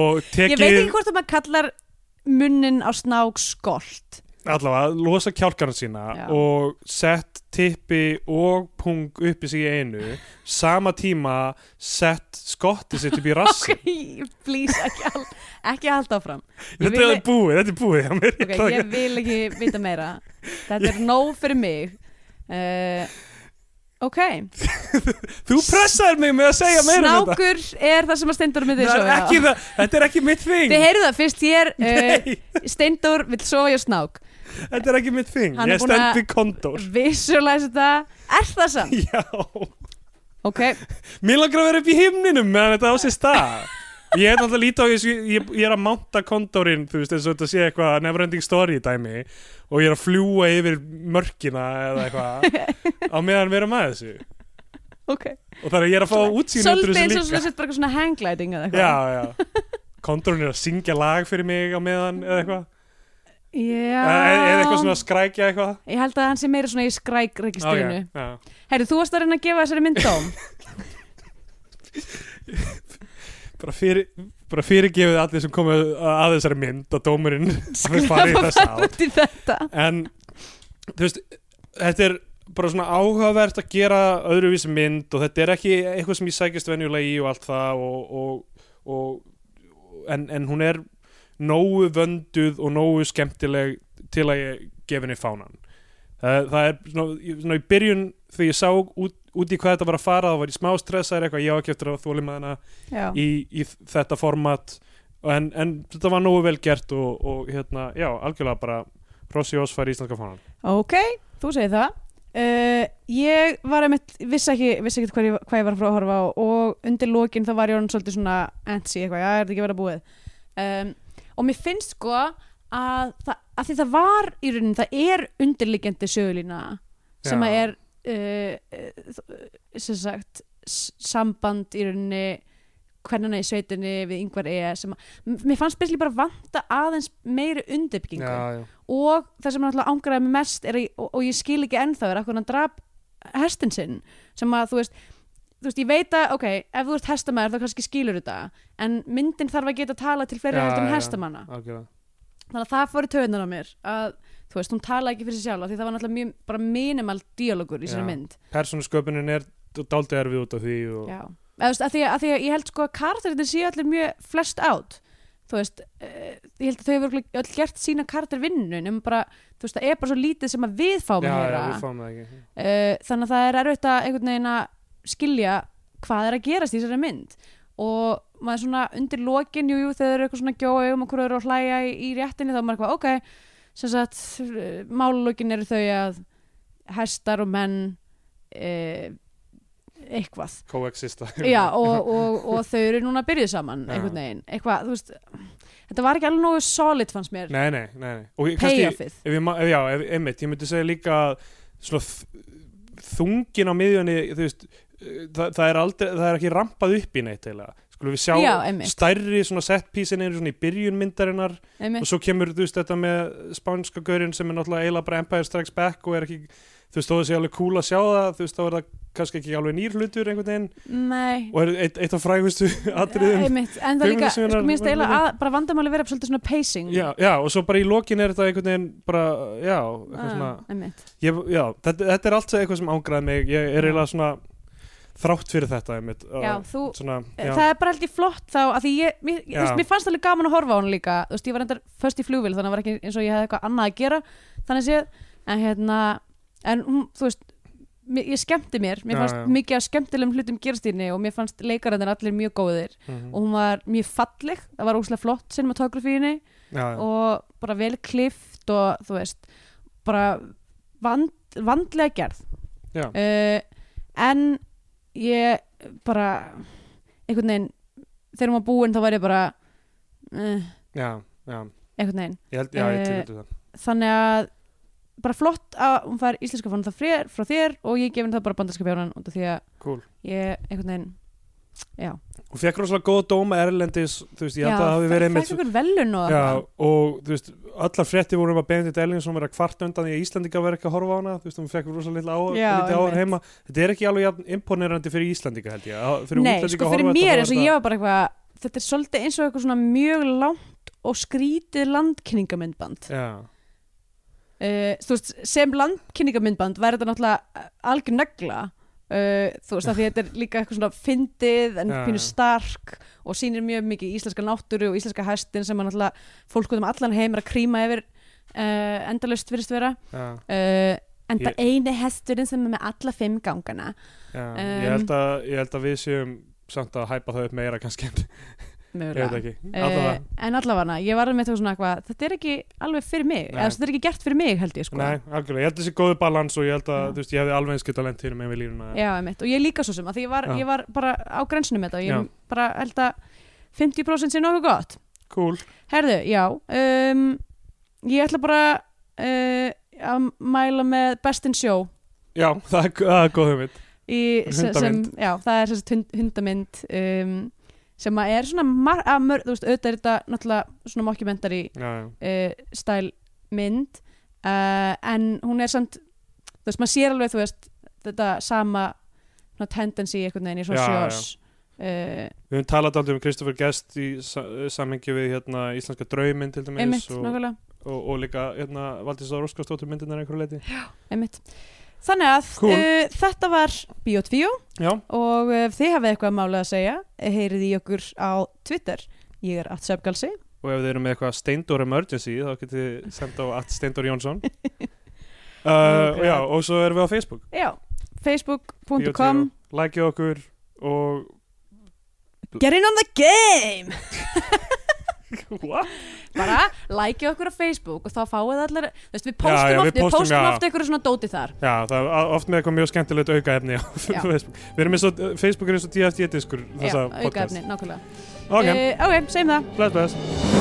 og
ég veit
tekið
ekki hvort að maður kallar munnin á snák skolt
allavega, losa kjálkarna sína
Já.
og sett tippi og pung upp í sig í einu sama tíma sett skottið sitt upp í rassin
please, ekki, al, ekki halda áfram Ég
þetta
vil-
er búið, þetta er búið hjá mér.
Ok, ég vil ekki vita meira Þetta er nóg fyrir mig uh, Ok
þú pressaðir mig með að segja meira um þetta
Snákur er það sem að Steindór myndi
Það er
sofa
ekki það, þetta er ekki mitt þing
Þið heyrðu það fyrst hér uh,
Nei,
Steindór vill sofa hjá snák
þetta er ekki mitt þing
Hann er
Ég
búinn að-
stend við kondor
Visualize þetta Er það samt?
Já,
Ok,
mér langar að vera upp í himninum meðan þetta á sér stað Ég er náttúrulega lítið á þessu, ég, ég er að mánta kondorinn, þú veist, eins og þetta sé eitthvað neverending story dæmi og ég er að fljúa yfir mörkina eða eitthvað á meðan við erum að þessu
ok
og þannig að ég er að fá útsýn út úr
Svolítið eins og
þessu
svona
líka
sett bara eitthvað svona hanggliding eða eitthvað
Já, já Kondorinn er að syngja lag fyrir mig á meðan eða eitthvað
Já.
eða eða eitthvað svona að skrækja eitthvað
Ég held að hann sé meira svona í skrækregistrinu okay.
Ok, já.
Herru, þú varst að reyna að gefa þessari myndóm
bara, fyrir, bara fyrirgefið allir sem komu að að þessari mynd að dómurinn hafi farið í þessa átt
út í þetta
en þú veist þetta er bara svona áhugavert að gera öðruvísi mynd og þetta er ekki eitthvað sem ég sækist venjulega í og allt það og, og, og en, en hún er nógu vönduð og nógu skemmtileg til að ég gefi henni fánan það, það er svona, í- svona í byrjun þegar ég sá út, út í hvað þetta var að fara þá var ég smá stressaður eitthvað, ég á ekki eftir að þóli með hana
Já,
í, í þetta format en, en þetta var nógu vel gert og, og hérna, já, algjörlega bara Rossi Ós fær íslenska fánan
ok, þú segir það uh, Ég var einmitt, vissi ekki, vissi ekki hvað, ég, hvað ég var að fara að horfa á og undir lokin þá var ég orðin svolítið svona antsy eitthvað, já, er þetta ekki að vera búið um, og mér finnst sko að, það, að því það var í rauninni, það er undirliggjandi sögulína sem
Já.
að er uh, uh, sem sagt s- samband í rauninni hvernana í sveitinni við yngvar eða sem að, m- mér fannst byrjli bara vanta aðeins meiri undirbyggingu
já.
og það sem náttúrulega ángraði mig mest er, að- og, og ég skil ekki ennþá er akkur hann drap hestin sinn sem að þú veist, þú veist ég veit að ok, ef þú ert hestamæður þá kannski skilur þetta en myndin þarf að geta tala til fleiri
Já,
heldur
já,
um
já.
hestamanna
algjörlega
þannig að það fór í töðunar á mér að þú veist, hún tala ekki fyrir sér sjálf af því það var náttúrulega mjög, bara minimal dialogur í sér
Já.
mynd
Persónusköpunin er dálítið erfið út af því og,
Já, eða, þú veist, að því, að, að því að ég held sko að karakterinn séu allir mjög flest átt þú veist, uh, ég held að þau hefur öll gert sína karaktervinnu nema bara, þú veist, það er bara svo lítið sem að við fáum
já,
að
já,
heyra
við fáum það ekki
uh, þannig að það er erfitt að einhvern veginn að skilja hvað er að gerast í þessari mynd og maður svona undir lokin jú, jú, þegar þeir eru eitthvað svona gjóa um okkur eru að hlæja í, í réttinni þá er maður eitthvað ok, sem sagt eh, málulokin eru þau að hestar og menn uh, eitthvað
coexista
Já, og, og, og þau eru núna byrjuð saman
Já.
einhvern veginn, eitthvað, þú veist þetta var ekki alveg nógu solid fannst mér
nei, nei, nei, nei. og ég- kannski,
payoffið,
ef ég, ma- ef, já, ef, einmitt, ég myndi segja líka að svona þ- þungin á miðjunni þú veist, eh, það, það, er aldrei, það er ekki rampað upp í neitt heila skulum við sjá
Já, einmitt.
stærri svona setpísin er svona í byrjun myndarinnar og
einmitt
svo kemur þú veist þetta með spánska gaurinn sem er náttúrulega eiginlega bara Empire Strikes Back og er ekki, þú veist þó þessi alveg cool að sjá það þú veist þá er það kannski ekki alveg nýr hlutur einhvern veginn
Mm. Nei,
og er eitt, eitt af frægustu atriðum
einmitt, en það líka, sko,
Hugmyndasögunar-
mér finnst eiginlega að bara vandamáli vera svolítið svona pacing
já, já, og svo bara í lokin er þetta einhvern veginn bara, já, eitthvað
Ah,
svona
einmitt.
ég, já, þetta, þetta er allt eitthvað sem ángraði mig ég er eiginlega svona þrátt fyrir þetta einmitt, og
Já, þú,
svona, já,
það er bara held ég flott þá að því ég, mér, ég, þú
Já.
veist, mér fannst alveg gaman að horfa á hann líka þú veist, ég var endar först í flugvél þannig að það var ekki eins og ég hefði eitthvað annað að gera þannig séð, en hérna en hún, þú veist, mér, ég skemmti mér mér
Já,
fannst
já.
mikið af skemmtilegum hlutum gerast í henni og mér fannst leikarandinn allir mjög góðir
mhm,
og hún var mjög falleg, það var óslega flott cinematography í henni
já, já.
og bara vel klift og þú veist bara vand, vandlega gerð
Já.
uh, en ég bara einhvern veginn þegar hún var búin þá var ég bara uh,
já, já,
einhvern veginn
ég held, já, ég
Eh,
tekur þetta
þannig að bara flott að hún fær íslenska fónan það frér, frá þér og ég gef henni það bara bandarska bjónan út af því að
cool
ég einhvern veginn já,
og fekk rosalega góða dóma erlendis þú veist, ég held að það hafi verið einmitt
fæk einhvern velun og
Já, og þú veist, allar frétti voru um að Benedikt Ellingsson vera kvart undan því að Íslandingar vera ekki að horfa á hana, þú veist, hún fekk rosa litla áhör,
Já,
litla áhör
einmitt.
heima þetta er ekki alveg jafn imponerandi fyrir Íslandinga held ég, að- fyrir
Nei,
útlendinga
sko
að
fyrir
horfa á
mér
þetta,
eins og
þá er
ég var bara eitthvað þetta er svolítið eins og eitthvað svona mjög langt og skrítið landkynningamindband
þetta- Já,
uh, þú veist, sem landkynningamindband væri þetta náttúrulega algjör negla uh, þú veist, af því þetta er líka eitthvað svona fyndið en
Já,
pínu
já.
stark og sýnir mjög mikið íslenska náttúru og íslenska hæstin sem að náttúrulega fólk út um allan heim er að kríma yfir uh, endalaust virðist vera
já,
uh, en
Ég-
það eini hesturinn sem er með alla fimm gangana
já. ég, held að, ég held að við séum samt að hæpa það upp meira kannski en- ég veit
mögulega
ekki,
Uh,
allavega
en allavega, ég var með eitthvað svona eitthvað þetta er ekki alveg fyrir mig
Nei.
eða þetta er ekki gert fyrir mig held ég sko
Nei, algjörlega, ég held þessi góðu balans og ég held að,
Já.
þú veist, ég hefði alveg eins geta lent hínum en við línuna
Já, einmitt, og ég líka svo sem að því ég var,
Já.
ég var bara á grensinu með þetta og ég
Já.
bara held að 50% sé nokkuð gott
Cool,
Herðu, já um, Ég ætla bara uh, að mæla með Best in Show
já, það er, það er góð hugmynd
í, se- sem,
Hundamynd.
já, það er sem sagt hund- hundamynd um, sem að er svona mar- að mörg, þú veist, auðvitað er þetta náttúrulega svona mockumentary
Já, já,
uh, stæl mynd uh, en hún er samt þú veist, maður sér alveg, þú veist þetta sama ná, tendency einhvern veginn í svona
Já, já.
sjós uh,
við höfum talað aldrei um Kristoffer Guest í sa samhengi við hérna íslenska drauminn til dæmis
einmitt,
og,
nákvæmlega,
og, og líka hérna Valdís Þór Óskarsdóttur myndirnar einhverju leiti
einmitt þannig að
Cool.
uh, þetta var Biotvíó
Já,
og uh, ef þið hafið eitthvað mála að segja eh, heyrið í okkur á Twitter ég er atsefgalsi
og ef þið eru með eitthvað Steindor Emergency þá getið þið senda á at Steindor Jónsson uh, og já, og svo erum við á Facebook
já, facebook.com
Lækja okkur og
Get in on the game
What?
bara like okkur á Facebook og þá fáið allir þú veist, við
Já, já,
postum
við
oft, við
postum,
postum
já.
oft einhverju svona dóti þar
Já, það er oft með eitthvað mjög skemmtilegt aukaefni á Facebook. Við erum eins og, Facebook er eins og DFD-diskur
Já,
þessa podcast.
aukaefni, nákvæmlega
Ok,
Eh, ok, segjum það
bless, bless.